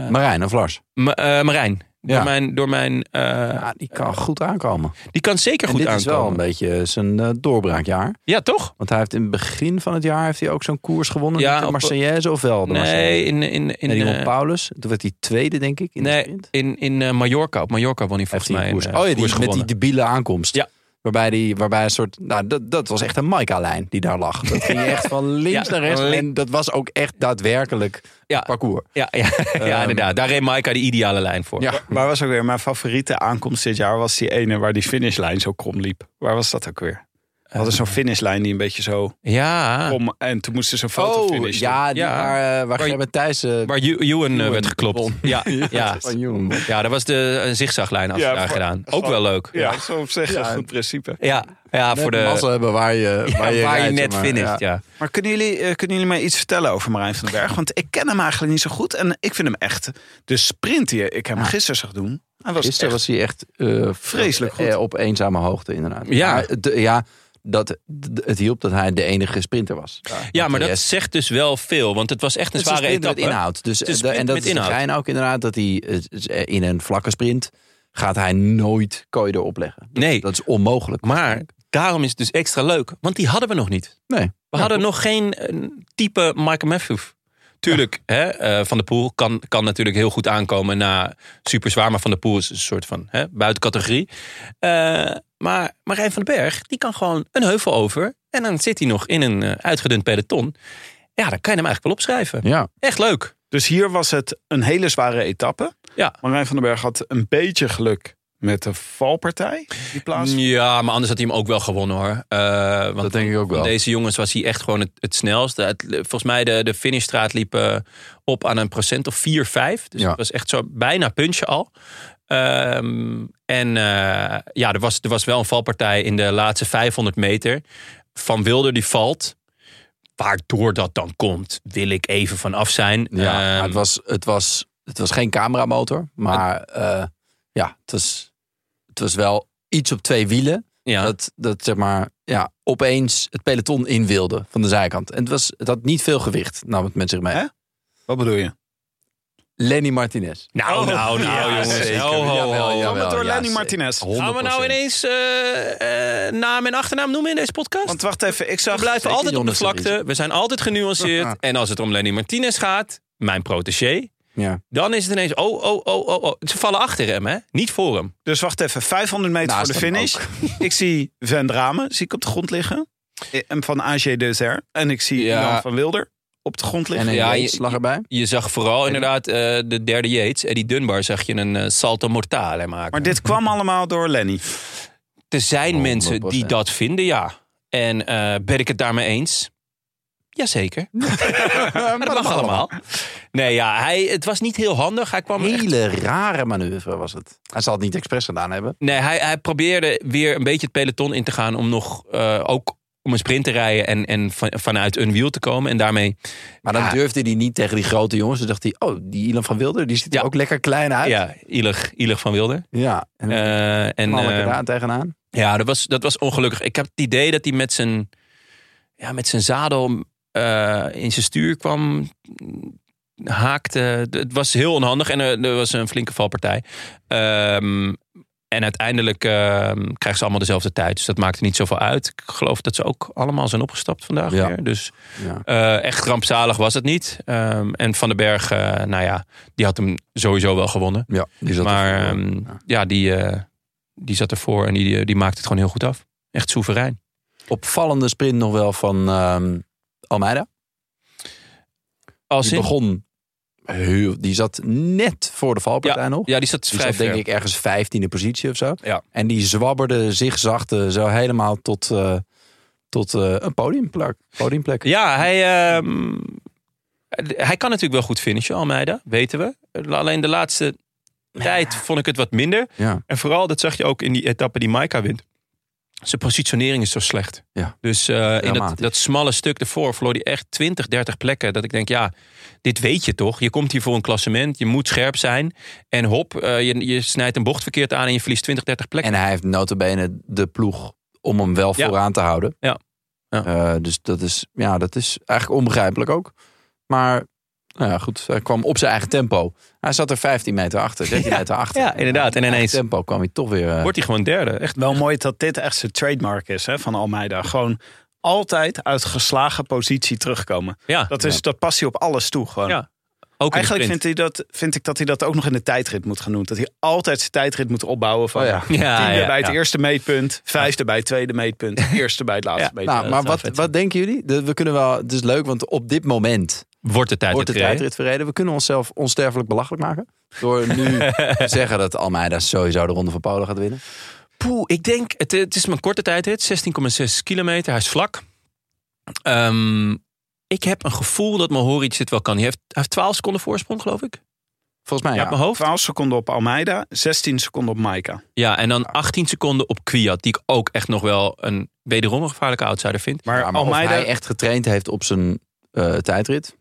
A: Marijn of Lars?
B: Ma- eh, Marijn. Door
A: Ja.
B: mijn... Door mijn eh,
A: Ja, die kan goed aankomen.
B: die kan zeker
A: En
B: goed
A: dit is
B: aankomen.
A: wel een beetje zijn eh, doorbraakjaar.
B: Ja, toch?
A: Want hij heeft in het begin van het jaar heeft hij ook zo'n koers gewonnen.
B: Ja,
A: Ja, de
B: op-
A: Marseillaise of wel? De
B: Nee,
A: Marseillaise?
B: in, in, in,
A: Nee, die won
B: eh,
A: Paulus. Toen werd hij tweede, denk ik, in de
B: nee,
A: sprint.
B: in, in eh, Mallorca. Op Mallorca won hij
A: Heeft
B: volgens
A: hij
B: mij
A: een
B: een
A: koers.
B: eh,
A: Oh ja, die,
B: koers
A: met die
B: gewonnen.
A: debiele aankomst.
B: Ja.
A: Waarbij, die, waarbij een soort. Nou, dat, dat was echt een Maika-lijn die daar lag. Dat ging echt van links
B: Ja,
A: naar rechts.
B: link-
A: En dat was ook echt daadwerkelijk
B: Ja.
A: parcours.
B: Ja, ja, ja, inderdaad. Daar reed Maika de ideale lijn voor.
A: Ja.
C: Waar was ook weer mijn favoriete aankomst dit jaar? Was die ene waar die finishlijn zo krom liep. Waar was dat ook weer? We hadden
A: Eh.
C: zo'n finishlijn die een beetje zo
B: Ja,
C: krom... En toen moesten ze zo'n
A: Oh,
C: fotofinish doen.
A: ja, die,
B: Ja.
A: waar, eh, waar
B: Waar-
A: Gerben Thijs... eh,
B: waar Ju- Ewan eh,
A: Ewan
B: werd geklopt.
A: won.
B: Ja, ja.
A: van Jong.
B: ja, dat was de een zigzaglijn als
C: Ja,
B: ze daar
C: voor-
B: gedaan. Ook
C: voor-
B: wel leuk.
C: Ja, zo op zich een goed principe.
B: Ja, ja
A: Net
B: voor
A: massa
B: de...
A: hebben waar je,
B: Ja,
A: waar je,
B: waar je
A: rijdt,
B: net
A: zeg maar. Ja.
B: finisht, ja.
C: Maar kunnen jullie, eh, kunnen jullie mij iets vertellen over Marijn van den Berg? Want ik ken hem eigenlijk niet zo goed. En ik vind hem echt... De sprint die ik hem gisteren zag doen... Hij was
A: Gisteren
C: echt
A: was hij echt eh,
C: Vreselijk goed.
A: eh, op eenzame hoogte, inderdaad.
B: Ja.
A: Maar het- ja dat, d- het hielp dat hij de enige sprinter was.
B: Ja,
A: Want
B: maar
A: de
B: dat
A: rest-
B: zegt dus wel veel. Want het was echt een
A: Het is
B: zware
A: sprint
B: etappe.
A: met inhoud. Dus,
B: Het is
A: eh,
B: sprint
A: en dat
B: met
A: is het
B: inhoud.
A: geheim ook inderdaad dat hij eh, in een vlakke sprint gaat hij nooit kooien opleggen. Dat,
B: Nee.
A: dat is onmogelijk.
B: Maar daarom is het dus extra leuk. Want die hadden we nog niet.
A: Nee.
B: We hadden nog geen eh, type Michael Matthews. Tuurlijk, hè, eh, Van der Poel kan, kan natuurlijk heel goed aankomen na super zwaar. Maar Van der Poel is een soort van hè, buitencategorie. Eh, maar Marijn van den Berg, die kan gewoon een heuvel over. En dan zit hij nog in een eh, uitgedund peloton. Ja, dan kan je hem eigenlijk wel opschrijven.
A: Ja.
B: Echt leuk.
C: Dus hier was het een hele zware etappe.
B: Ja.
C: Marijn van den Berg had een beetje geluk met de valpartij. Die plaats.
B: Ja, maar anders had hij hem ook wel gewonnen hoor. Eh, want
A: Dat denk ik ook
B: Van
A: wel.
B: deze jongens was hij echt gewoon het, het snelste. Het- volgens mij de, de finishstraat liep eh, op aan een procent of 4, 5. Dus
A: Ja.
B: het was echt zo bijna puntje al. Ehm, en eh, ja, er was, er was wel een valpartij in de laatste 500 meter. Van Wilder die valt. Waardoor dat dan komt, wil ik even vanaf zijn.
A: Ja,
B: Ehm,
A: maar het, was, het, was, het was geen cameramotor, eh, maar eh, ja, het was, het was wel iets op twee wielen.
B: ja.
A: Dat, dat zeg maar, ja, opeens het peloton in wilde van de zijkant. En het, was, het had niet veel gewicht, nam het met zich mee.
C: Hè? Wat bedoel je?
A: Lenny Martinez.
B: Nou, nou, nou, jongens.
A: Oh, zeker.
B: Ho, ho,
A: Jawel,
B: ho.
A: jawel.
C: Kom het door
A: ja,
C: Lenny
A: ze-
C: Martinez.
A: 100%.
B: Gaan we nou ineens eh, eh, naam en achternaam noemen in deze podcast?
C: Want wacht even, ik
B: we
C: zag...
B: blijven altijd op de
A: Jonas
B: vlakte.
A: Ries.
B: We zijn altijd genuanceerd. en als het om Lenny Martinez gaat, mijn protégé,
A: Ja.
B: dan is het ineens... Oh, oh, oh, oh, oh. Ze vallen achter hem, hè? Niet voor hem.
C: Dus wacht even, 500 meter
A: Naast
C: voor de
A: hem
C: finish. Ik zie Van Dramen, zie ik op de grond liggen. Eh, En van AG Deser. En ik zie
A: Ja.
C: Jan van Wilder op de grond
A: En
C: liggen.
A: een
B: Ja,
A: Yates
B: je-
A: lag erbij.
B: Je zag vooral inderdaad eh, de derde Yates, Eddie Dunbar, zag je een eh, salto mortale maken.
C: Maar dit kwam allemaal door Lenny.
B: Er zijn mensen die
A: 100%.
B: dat vinden, ja. En eh, ben ik het daarmee eens? Jazeker. maar dat mag allemaal. Nee, ja, hij, het was niet heel handig. Hij kwam echt
A: Hele rare manoeuvre was het. Hij zal het niet expres gedaan hebben.
B: Nee, hij, hij probeerde weer een beetje het peloton in te gaan om nog eh, ook om een sprint te rijden en, en van- vanuit een wiel te komen. En daarmee,
A: Maar dan
B: Ja.
A: durfde hij niet tegen die grote jongens. Toen dacht hij, oh, die Ilan van Wilder, die ziet er
B: Ja.
A: ook lekker klein uit. Ja,
B: ja, ilig, ilig van Wilder.
A: en ehm, dan
B: Eh, en
A: knal ik er
B: eh,
A: daar tegenaan.
B: ja, dat was, dat was ongelukkig. Ik heb het idee dat hij met zijn, ja, met zijn zadel eh, in zijn stuur kwam, haakte. Het was heel onhandig en er, er was een flinke valpartij. Ehm, en uiteindelijk ehm, krijgen ze allemaal dezelfde tijd. Dus dat maakte niet zoveel uit. Ik geloof dat ze ook allemaal zijn opgestapt vandaag
A: Ja.
B: weer. Dus
A: Ja.
B: Eh, echt rampzalig was het niet. Ehm, en Van den Berg, eh, nou ja, die had hem sowieso wel gewonnen.
A: Ja, die zat
B: maar
A: ervoor.
B: ehm,
A: Ja.
B: ja, die, eh, die zat ervoor en die, die maakte het gewoon heel goed af. Echt soeverein.
A: Opvallende sprint nog wel van ehm, Almeida.
B: Als
A: Die
B: in?
A: begon, heel- die zat net voor de valpartij nog.
B: Ja, die zat
A: Die
B: vrij
A: zat denk
B: ver.
A: ik ergens vijftiende positie of zo.
B: Ja.
A: En die zwabberde zigzagde zo helemaal tot, eh, tot eh, een podiumplek. podiumplek.
B: Ja, hij, ehm, hij kan natuurlijk wel goed finishen, Almeida, weten we. Alleen de laatste tijd vond ik het wat minder.
A: Ja.
B: En vooral, dat zag je ook in die etappe die Maika wint. Zijn positionering is zo slecht.
A: Ja.
B: Dus eh, in dat,
A: Dramatisch.
B: dat smalle stuk ervoor verloor hij echt 20, 30 plekken. Dat ik denk, ja, dit weet je toch? Je komt hier voor een klassement, je moet scherp zijn. En hop, eh, je, je snijdt een bocht verkeerd aan en je verliest 20, 30 plekken.
A: En hij heeft notabene de ploeg om hem wel
B: Ja.
A: vooraan te houden.
B: Ja. Ja.
A: Eh, dus dat is, ja, dat is eigenlijk onbegrijpelijk ook. Maar nou ja, goed, hij kwam op zijn eigen tempo. Hij zat er 15 meter achter, 13
B: Ja,
A: meter achter.
B: ja, inderdaad. En
A: Op zijn
B: ineens-
A: eigen tempo kwam hij toch weer... eh,
B: Wordt hij gewoon derde, echt.
C: Wel mooi dat dit echt zijn trademark is hè, van Almeida. Gewoon altijd uit geslagen positie terugkomen.
B: Ja,
C: Dat, is, dat past hij op alles toe gewoon.
B: Ja, ook in de
C: Eigenlijk
B: sprint.
C: vindt hij dat, vind ik dat hij dat ook nog in de tijdrit moet gaan doen. Dat hij altijd zijn tijdrit moet opbouwen van...
A: Oh ja.
B: Ja, Ah,
C: Tiende
B: ja,
C: bij het
B: ja.
C: eerste meetpunt, vijfde bij het tweede meetpunt, eerste bij het laatste
B: Ja,
C: meetpunt.
A: nou, maar wat, wat denken jullie? De- we kunnen wel, het is leuk, want op dit moment
B: Wordt de tijd
A: wordt de
B: gereden.
A: tijdrit verreden. We kunnen onszelf onsterfelijk belachelijk maken. Door nu te zeggen dat Almeida sowieso de Ronde van Polen gaat winnen.
B: Poeh, ik denk, het, het is mijn korte tijdrit, 16,6 kilometer, hij is vlak. Ehm, ik heb een gevoel dat Mohoric dit wel kan. Hij heeft, hij heeft 12 seconden voorsprong, geloof ik,
A: Volgens mij
B: uit mijn hoofd.
C: 12 seconden op Almeida, 16 seconden op Maika.
B: Ja, en dan 18 seconden op Kwiat, die ik ook echt nog wel een wederom een gevaarlijke outsider vind.
C: Maar,
A: Ja, maar
C: Almeida,
A: of hij echt getraind heeft op zijn eh, tijdrit,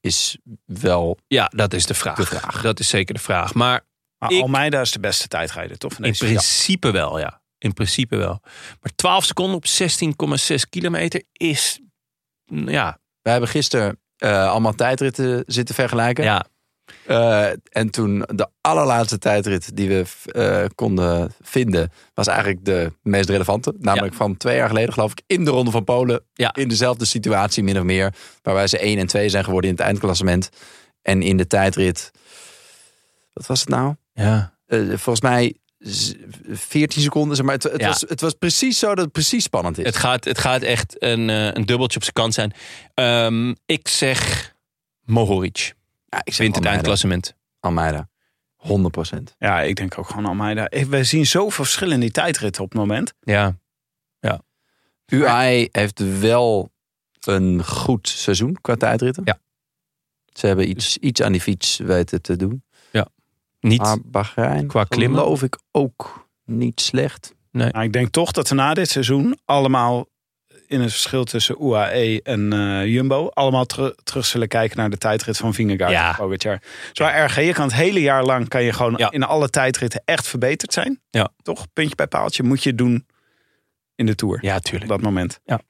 A: is wel
B: Ja, dat is de vraag.
A: De vraag.
B: Dat is zeker de vraag. Maar
C: maar
B: ik-
C: Almeida is de beste tijdrijder, toch? van
B: in
C: deze-
B: principe wel, ja. In principe wel. Maar 12 seconden op 16,6 kilometer is, mm, ja,
A: Wij hebben gisteren eh, allemaal tijdritten zitten vergelijken.
B: ja.
A: Eh, en toen de allerlaatste tijdrit die we eh, konden vinden, was eigenlijk de meest relevante. Namelijk van twee jaar geleden, geloof ik, in de Ronde van Polen.
B: Ja.
A: In dezelfde situatie, min of meer. Waarbij ze 1 en 2 zijn geworden in het eindklassement. En in de tijdrit, wat was het nou?
B: ja.
A: Eh, volgens mij z- 14 seconden. zeg Maar het, het,
B: Ja.
A: was, het was precies zo dat het precies spannend is.
B: Het gaat, het gaat echt een, eh, een dubbeltje op zijn kant zijn. Ehm, ik zeg Mohoric.
A: Ja, ik zeg
B: Wint het
A: Almeida.
B: eindklassement.
A: Almeida. 100 procent.
C: Ja, ik denk ook gewoon Almeida. Ik- Wij zien zoveel verschillen in die tijdrit op het moment.
B: Ja.
A: UAE heeft wel een goed seizoen qua tijdritten.
B: Ja. Dus-
A: Ze hebben iets, iets aan die fiets weten te doen.
B: Niet.
A: Maar Bahrein
B: Qua klimmen.
A: geloof ik ook niet slecht.
C: Maar Nou, ik denk toch dat we na dit seizoen allemaal in het verschil tussen UAE en eh, Jumbo... allemaal ter- terug zullen kijken naar de tijdrit van Vingegaard
B: Ja.
C: en Pogacar. Zo erg, hè? je E kan het hele jaar lang kan je gewoon
B: Ja.
C: in alle tijdritten echt verbeterd zijn.
B: Ja.
C: Toch, puntje bij paaltje, moet je het doen in de Tour
B: ja,
C: op
B: tuurlijk.
C: dat moment.
B: Zo
C: Maar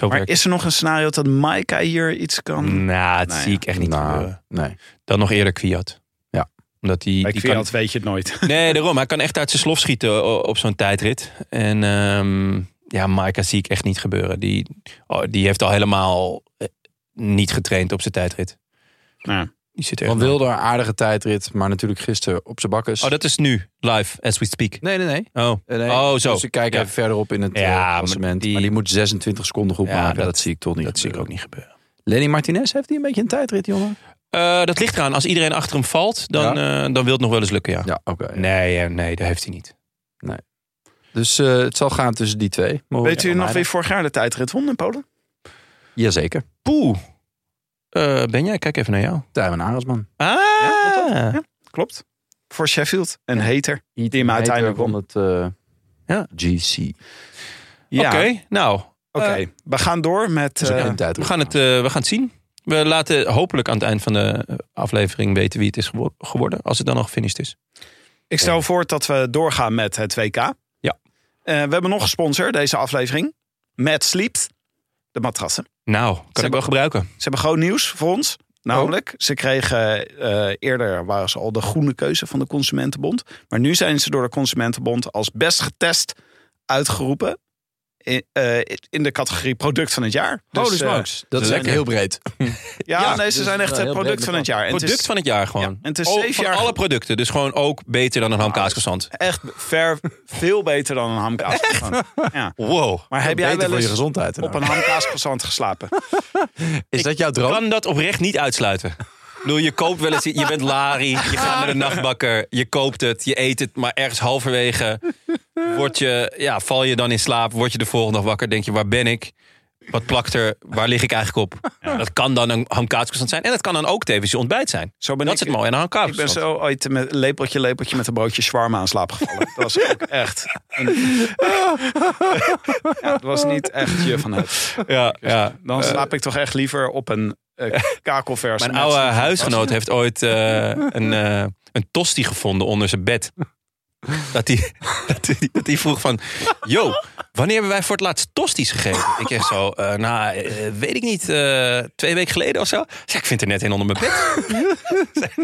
B: werkt het.
C: is er nog een scenario dat Maika hier iets kan?
B: Nou, dat
C: Nou
B: zie
C: ja.
B: ik echt niet
A: Nou,
B: gebeuren.
A: nee.
B: Dan nog eerder Kwiat.
A: Ja.
B: Omdat die,
C: Bij
B: die
C: Kwiat weet je het nooit.
B: Kan, nee, daarom. Hij kan echt uit zijn slof schieten o- op zo'n tijdrit. En ehm, ja, Maika zie ik echt niet gebeuren. Die, oh, die heeft al helemaal eh, niet getraind op zijn tijdrit.
C: Ja.
B: Die zit er
A: Van
B: echt...
A: Wilder, akkere tijdrit. Maar natuurlijk gisteren op zijn bakkes.
B: Oh, dat is nu. Live, as we speak.
A: Nee, nee, nee.
B: Oh,
A: Eh, nee.
B: Oh, zo.
A: Dus we kijken
B: Ja.
A: even verderop in het
B: Ja,
A: eh,
B: maar
A: klassement. maar, die...
B: die-
A: moet 26 seconden goed
B: Ja,
A: maken. Dat,
B: dat-
A: zie ik toch niet.
B: dat zie ik ook
A: gebeuren.
B: niet gebeuren.
A: Lenny Martinez heeft hij een beetje een tijdrit, jongen.
B: Eh, dat ligt eraan. Als iedereen achter hem valt, dan, eh, dan wil het nog wel eens lukken, ja.
A: Ja, oké.
B: Nee, eh, nee, dat heeft hij niet.
A: Dus eh, het zal gaan tussen die twee. Maar
C: Weet u nog
A: Almeida?
C: wie vorig jaar de tijdrit won in Polen?
A: Jazeker.
B: Poeh. Eh, ben jij? Kijk even naar jou.
A: Tijmen Arendsman.
B: Ah.
C: Ja. Klopt. Voor Sheffield. Een hater. Die hem uiteindelijk won.
A: won
C: Oké,
A: het eh,
B: Ja.
A: GC.
C: Ja.
B: Oké, nou, Eh,
C: we gaan door met...
A: Dus ook
C: eh,
A: een tijdrit.
B: we gaan, het, eh, we gaan het zien. We laten hopelijk aan het eind van de eh, aflevering weten wie het is gewo- geworden. Als het dan al gefinished is.
C: ik stel voor dat we doorgaan met het WK. Ja. we hebben nog een sponsor deze aflevering. Mad Sleep. De matrassen.
B: Nou, kan ik
C: hebben-
B: wel gebruiken.
C: Ze hebben groot nieuws voor ons. Namelijk, ze kregen eh, eerder waren ze al de groene keuze van de Consumentenbond. Maar nu zijn ze door de Consumentenbond als best getest uitgeroepen in, eh, in de categorie product van het jaar. Dus,
B: Holy
C: eh,
B: smokes.
A: Dat is
B: Ze
A: echt heel breed.
C: ja,
A: Ja,
C: nee, ze
A: dus
C: zijn echt
A: wel
C: eh,
A: heel
C: product
A: breed
C: van het jaar. En het is
B: Product van het jaar gewoon.
C: en het is
B: Oh,
C: zeven
B: van
C: jaar-
B: alle producten. Dus gewoon ook beter dan een hamkaaskazant.
C: echt ver, veel beter dan een hamkaas. Ja.
A: Wow.
C: Maar heb jij
A: Beter
C: wel
A: voor je
C: eens
A: gezondheid.
C: op een hamkaascroissant geslapen?
A: Is dat jouw droom?
B: Kan dat oprecht niet uitsluiten? Oh? Ik bedoel, je koopt wel eens, je bent lari, je gaat naar de nachtbakker, je koopt het, je eet het, maar ergens halverwege word je, ja, val je dan in slaap, word je de volgende dag wakker, denk je, waar ben ik? Wat plakt er? Waar lig ik eigenlijk op? Dat kan dan een hamkaascroissant zijn en dat kan dan ook tevens je ontbijt zijn.
C: Zo ben
B: dat
C: ik-
B: is het mooie aan een
C: Ik ben
B: hamkaascroissant.
C: zo ooit met lepeltje, lepeltje met een broodje shawarma aan slaap gevallen. Dat was ook echt... een- ja, dat was niet echt je van het.
B: Ja, ja.
C: Dan slaap ik toch echt liever op een eh, kakelvers.
B: Mijn
C: met-
B: oude huisgenoot heeft ooit eh, een, eh een tosti gevonden onder zijn bed. Dat hij dat die, dat die vroeg van... Yo, wanneer hebben wij voor het laatst tosti's gegeten? Ik zeg zo, eh, nou, eh, weet ik niet. eh, twee weken geleden of zo. Ik zeg, ik vind er net een onder mijn bed.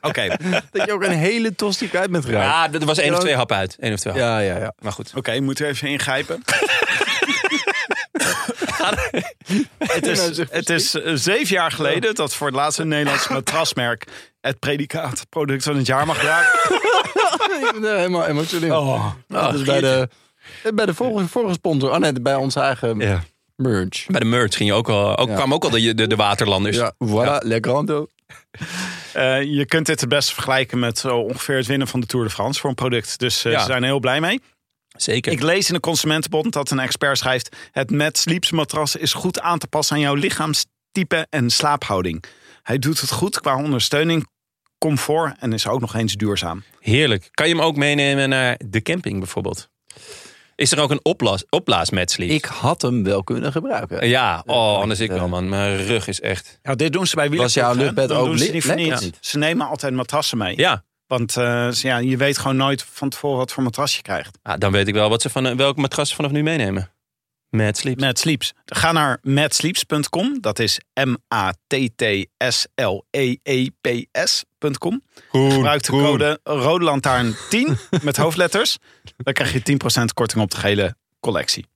C: Oké,
A: Dat je ook een hele tosti kwijt bent geraakt.
B: Ja, er was één of twee hap uit. Één of twee happen.
A: Ja, ja, ja.
B: Maar goed.
C: oké, moet er even ingrijpen. het,
A: Nou,
C: is,
A: zeg,
C: het is eh, zeven jaar geleden dat voor het laatst een Nederlands matrasmerk het predicaat product van het jaar mag raken.
A: Ik ben er helemaal emotioneel. Nou, dat is bij de, eh, bij de vorige, vorige sponsor. Oh nee, bij onze eigen
B: Ja.
A: merch.
B: Bij de merch ging je ook al, ook,
A: Ja.
B: kwamen ook al de, de, de waterlanders.
A: Ja, voilà, Le Grando.
C: Eh, je kunt dit het beste vergelijken met zo ongeveer het winnen van de Tour de France voor een product. Dus eh,
B: Ja.
C: ze zijn er heel blij mee.
B: Zeker.
C: Ik lees in de Consumentenbond dat een expert schrijft... het Mad Sleeps matras is goed aan te passen aan jouw lichaamstype en slaaphouding. Hij doet het goed qua ondersteuning, comfort en is ook nog eens duurzaam.
B: Heerlijk. Kan je hem ook meenemen naar de camping bijvoorbeeld? Is er ook een opblaas, opblaasmatch?
A: Ik had hem wel kunnen gebruiken.
B: Ja, oh, anders ik
A: eh,
B: wel, man. Mijn rug is echt.
C: Ja, dit doen ze bij
A: Was jouw
C: hè?
A: luchtbed
C: Dan
A: ook
C: doen ze
A: li-
C: die voor
A: lekker?
C: niets.
A: Ja.
C: Ze nemen altijd matrassen mee.
B: Ja,
C: Want eh, ze- ja, je weet gewoon nooit van tevoren wat voor matras je krijgt.
B: Ah, dan weet ik wel wat ze van, eh, welk matras ze vanaf nu meenemen. Mad Sleep.
C: Mad Sleeps. Ga naar madsleeps.com. Dat is E M-A-T-T-S-L-E-E-P-S.com. Gebruik de code Rode Lantaarn 10 met hoofdletters. Dan krijg je 10% korting op de gele collectie.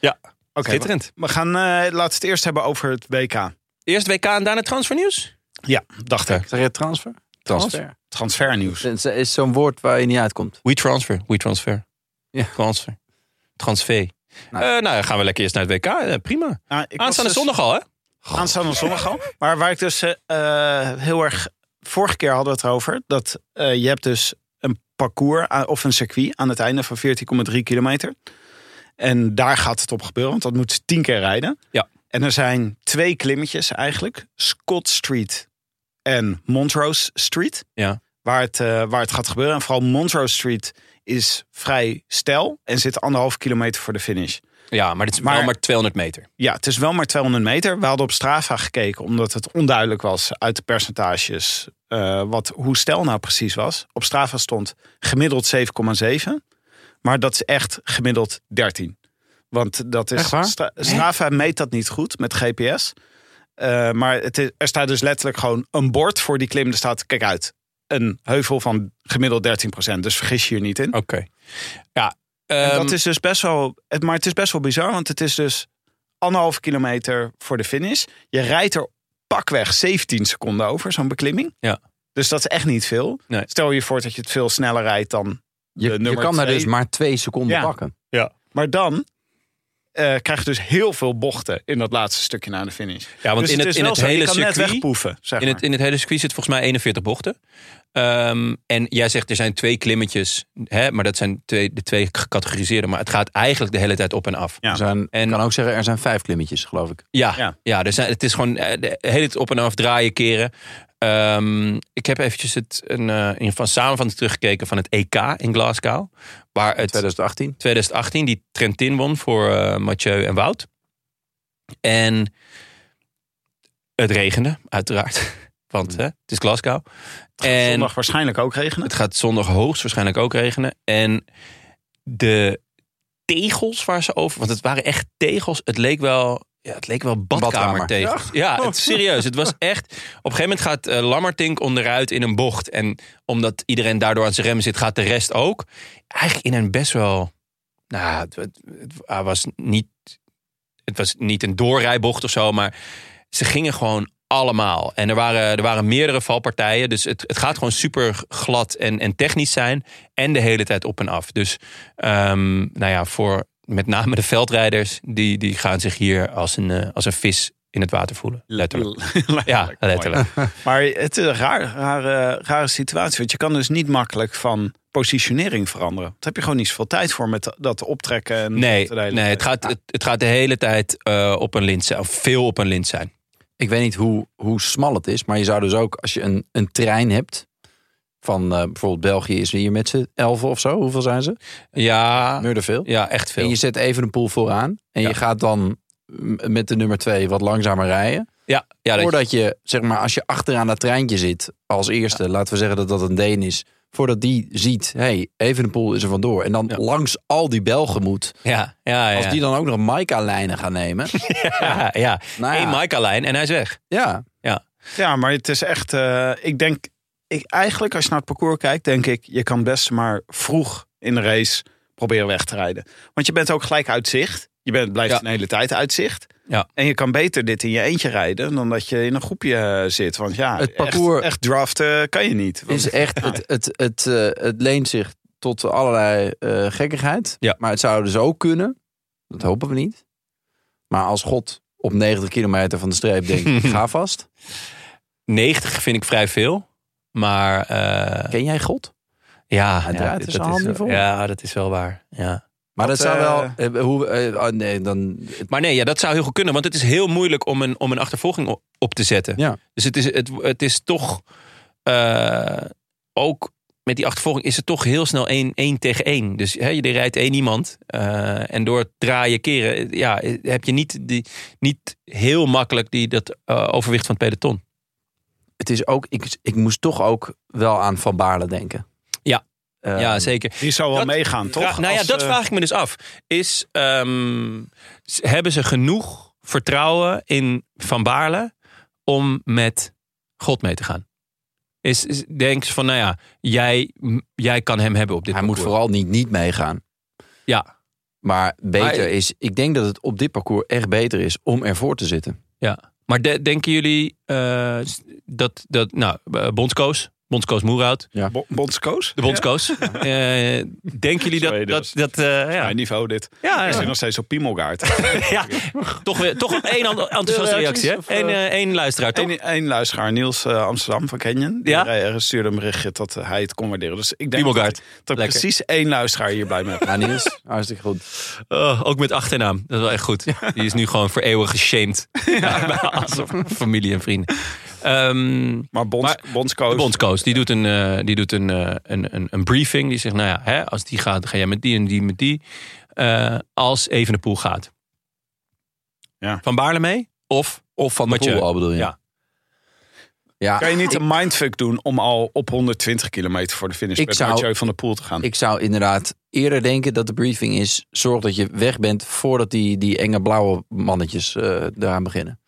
B: Ja,
C: Oké.
B: schitterend.
C: we gaan eh, laten we het eerst hebben over het WK.
B: Eerst WK en daarna transfernieuws?
C: Ja, dacht ik.
A: Zeg je transfer? Transfer.
C: Transfernieuws.
A: Het is zo'n woord waar je niet uitkomt.
B: We transfer, we transfer.
A: Ja.
B: Transfer. Transfer.
A: Nou.
B: Nou, nou, dan gaan we lekker eerst naar het WK. Eh, prima.
C: Nou, ik was
B: Aanstaande
C: dus-
B: zondag al, hè?
C: Aanstaande zondag al. Maar waar ik dus eh, eh, heel erg... Vorige keer hadden we het over. Dat eh, je hebt dus een parcours aan- of een circuit aan het einde van 14,3 kilometer. En daar gaat het op gebeuren. Want dat moet ze tien keer rijden.
B: Ja.
C: En er zijn twee klimmetjes eigenlijk. Scott Street en Montrose Street.
B: Ja.
C: Waar het, eh, waar het gaat gebeuren. En vooral Montrose Street is vrij steil. En zit anderhalf kilometer voor de finish.
B: Ja, maar dit is
C: Maar-
B: wel maar 200 meter.
C: Ja, het is wel maar 200 meter. We hadden op Strava gekeken, omdat het onduidelijk was uit de percentages eh, wat, hoe stijl nou precies was. Op Strava stond gemiddeld 7,7, maar dat is echt gemiddeld 13. Want dat is
A: Echt waar?
C: Stra- Strava meet dat niet goed met GPS. Eh, maar het is, er staat dus letterlijk gewoon een bord voor die klim. Er staat, kijk uit, een heuvel van gemiddeld 13%. Dus vergis je hier niet in.
B: Oké. Ja.
C: En
B: ehm,
C: dat is dus best wel. Het, maar het is best wel bizar, want het is dus anderhalve kilometer voor de finish. Je rijdt er pakweg 17 seconden over, zo'n beklimming.
B: Ja.
C: Dus dat is echt niet veel.
B: Nee.
C: Stel je voor dat je het veel sneller rijdt dan. De
A: Je, je
C: nummer
A: kan daar
C: twee.
A: dus maar twee seconden
C: Ja.
A: pakken.
C: Maar dan eh, krijg je dus heel veel bochten in dat laatste stukje na de finish.
B: ja, want
C: dus
B: in het,
C: is
B: in
C: wel
B: het
C: zo, je
B: hele
C: kan net
B: circuit...
C: wegpoeven, zeg
B: In
C: maar.
B: het, in het hele circuit zit volgens mij 41 bochten. Ehm, en jij zegt er zijn twee klimmetjes, hè, maar dat zijn twee, de twee gecategoriseerde. Maar het gaat eigenlijk de hele tijd op en af.
C: Ja.
A: Er zijn,
B: En-
A: ik kan ook zeggen, er zijn vijf klimmetjes, geloof ik.
B: Ja,
C: Ja.
B: ja. er zijn, het is gewoon eh, de hele tijd op en af draaien, keren. Ehm, ik heb eventjes het, een, eh, een van samenvatting teruggekeken van het EK in Glasgow. Waar het
A: 2018.
B: 2018 die Trentin won voor eh, Mathieu en Wout. En het regende, uiteraard. Want hè, het is Glasgow. En
C: Mm. Zondag waarschijnlijk ook regenen.
B: het gaat zondag hoogstwaarschijnlijk ook regenen. En de tegels waar ze over... Want het waren echt tegels. Het leek wel... Ja, het leek wel badkamertegels. Ja, het, serieus. Het was echt... Op een gegeven moment gaat eh, Lammertink onderuit in een bocht. En omdat iedereen daardoor aan zijn remmen zit, gaat de rest ook. Eigenlijk in een best wel Nou, het, het- het was niet, het was niet een doorrijbocht of zo, maar ze gingen gewoon allemaal. En er waren, er waren meerdere valpartijen, dus het, het gaat gewoon super glad en, en technisch zijn. En de hele tijd op en af. Dus ehm, nou ja, voor met name de veldrijders, die, die gaan zich hier als een, eh, als een vis in het water voelen. Letterlijk. Ja, letterlijk.
C: Maar het is een raar, rare, rare situatie. Want je kan dus niet makkelijk van positionering veranderen. Daar heb je gewoon niet zoveel tijd voor met dat optrekken. En
B: Nee,
C: dat de hele
B: nee
C: tijd.
B: het, gaat, het, het gaat de hele tijd eh, op een lint zijn. Of veel op een lint zijn.
A: Ik weet niet hoe, hoe smal het is, maar je zou dus ook als je een, een trein hebt. Van eh, bijvoorbeeld België is hier met z'n elfen of zo. Hoeveel zijn ze?
B: Ja,
A: Meurder veel.
B: ja echt veel.
A: En je zet even een poel vooraan. En
B: Ja.
A: je gaat dan m- met de nummer twee wat langzamer rijden.
B: Ja, ja, dat,
A: voordat je, zeg maar, als je achteraan dat treintje zit als eerste. Laten we zeggen dat dat een Deen is. Voordat die ziet, hé, hey, even een poel is er vandoor. En dan
B: Ja.
A: langs al die Belgen moet.
B: ja, ja, ja.
A: Als die dan ook nog Maika-lijnen gaan nemen.
B: ja, ja.
A: nou ja,
B: Eén Maika-lijn en hij is weg.
A: ja.
C: Ja, maar het is echt. eh, ik denk. Ik, eigenlijk, als je naar het parcours kijkt, denk ik. Je kan best maar vroeg in de race proberen weg te rijden. Want je bent ook gelijk uit zicht. Je bent, blijft
B: Ja.
C: een hele tijd uit zicht.
B: Ja.
C: En je kan beter dit in je eentje rijden dan dat je in een groepje eh, zit. Want ja,
A: Het parcours-
C: echt, echt draften kan je niet. Want-
A: is echt, het, het, het, eh, het leent zich tot allerlei eh, gekkigheid.
B: Ja.
A: Maar het zou dus ook kunnen, dat hopen we niet. Maar als God op 90 kilometer van de streep denkt, ga vast.
B: 90 vind ik vrij veel. Maar eh,
A: Ken jij God?
B: ja,
A: Hij
B: ja,
A: draait er zijn
B: is,
A: handen
B: wel-
A: voor.
B: ja, dat is wel waar. Ja.
A: Maar
C: Dat,
A: dat, zou wel...
C: eh,
A: eh, hoe, eh, oh nee, dan...
B: Maar nee, ja, dat zou heel goed kunnen. Want het is heel moeilijk om een, om een achtervolging op, op te zetten.
A: Ja.
B: Dus het is, het, het is toch... eh, ook met die achtervolging is het toch heel snel één, één tegen één. Dus hè, je rijdt één iemand. eh, en door het draaien, keren... Ja, heb je niet, die, niet heel makkelijk die, dat eh, overwicht van het peloton.
A: Het is ook... Ik, ik moest toch ook wel aan Van Baarle denken.
B: Ja.
A: Eh,
B: ja, zeker.
C: Die zou wel
B: Dat-
C: meegaan, toch?
B: Vraag- nou ja,
C: Als,
B: dat
C: eh,
B: vraag ik me dus af. Is, ehm, s- hebben ze genoeg vertrouwen in Van Baarle om met God mee te gaan? Is, is, denk ze van, nou ja, jij, m- jij kan hem hebben op dit
A: Hij moet
B: parcours.
A: vooral niet niet meegaan.
B: Ja.
A: Maar beter
B: Maar-
A: is... Ik denk dat het op dit parcours echt beter is om ervoor te zitten.
B: Maar de- denken jullie eh, s- dat, dat, nou, eh, bondscoach, bondscoach Moerhout,
C: Bo- Bondscoach?
B: de bondscoach. eh, denken jullie dat,
C: Sorry, dat
B: dat,
C: was-
B: dat eh,
C: Ja,
B: ja,
C: niveau dit.
B: ja,
C: Ik
B: ja,
C: zit nog steeds op Piemelgaard.
B: ja, toch weer, toch één en- enthousiaste reactie, hè? Eén, eh, één luisteraar, toch?
C: Eén, één luisteraar, Niels eh, Amsterdam van Canyon. Die
B: Ja?
C: ja? stuurde een berichtje dat eh, hij het kon waarderen. Dus ik denk
B: Piemelgaard.
C: dat, ik- dat ik
B: Lekker.
C: precies één luisteraar hier blij mee heb.
A: Ja, Niels, hartstikke goed.
B: Oh, ook met achternaam. Dat is wel echt goed. Die is nu gewoon voor eeuwig geshamed. Bij als familie en vrienden. Ehm,
C: Maar, bonds,
B: Maar
C: bondscoach.
B: de bondscoach, die doet, een, eh, die doet een, eh, een, een, een briefing. Die zegt, nou ja, hè, als die gaat, ga jij met die en die met die. Eh, als Evenepoel gaat.
C: Ja.
B: Van Baarle mee? Of,
A: Of van de
B: Mathieu.
A: Poel al bedoel je?
B: Ja.
A: Ja,
C: Kan je niet een mindfuck doen om al op 120 kilometer voor de finish
A: Ik
C: met
A: zou-
C: Mathieu van de Poel te gaan?
A: ik zou inderdaad eerder denken dat de briefing is... zorg dat je weg bent voordat die, die enge blauwe mannetjes eh eraan beginnen.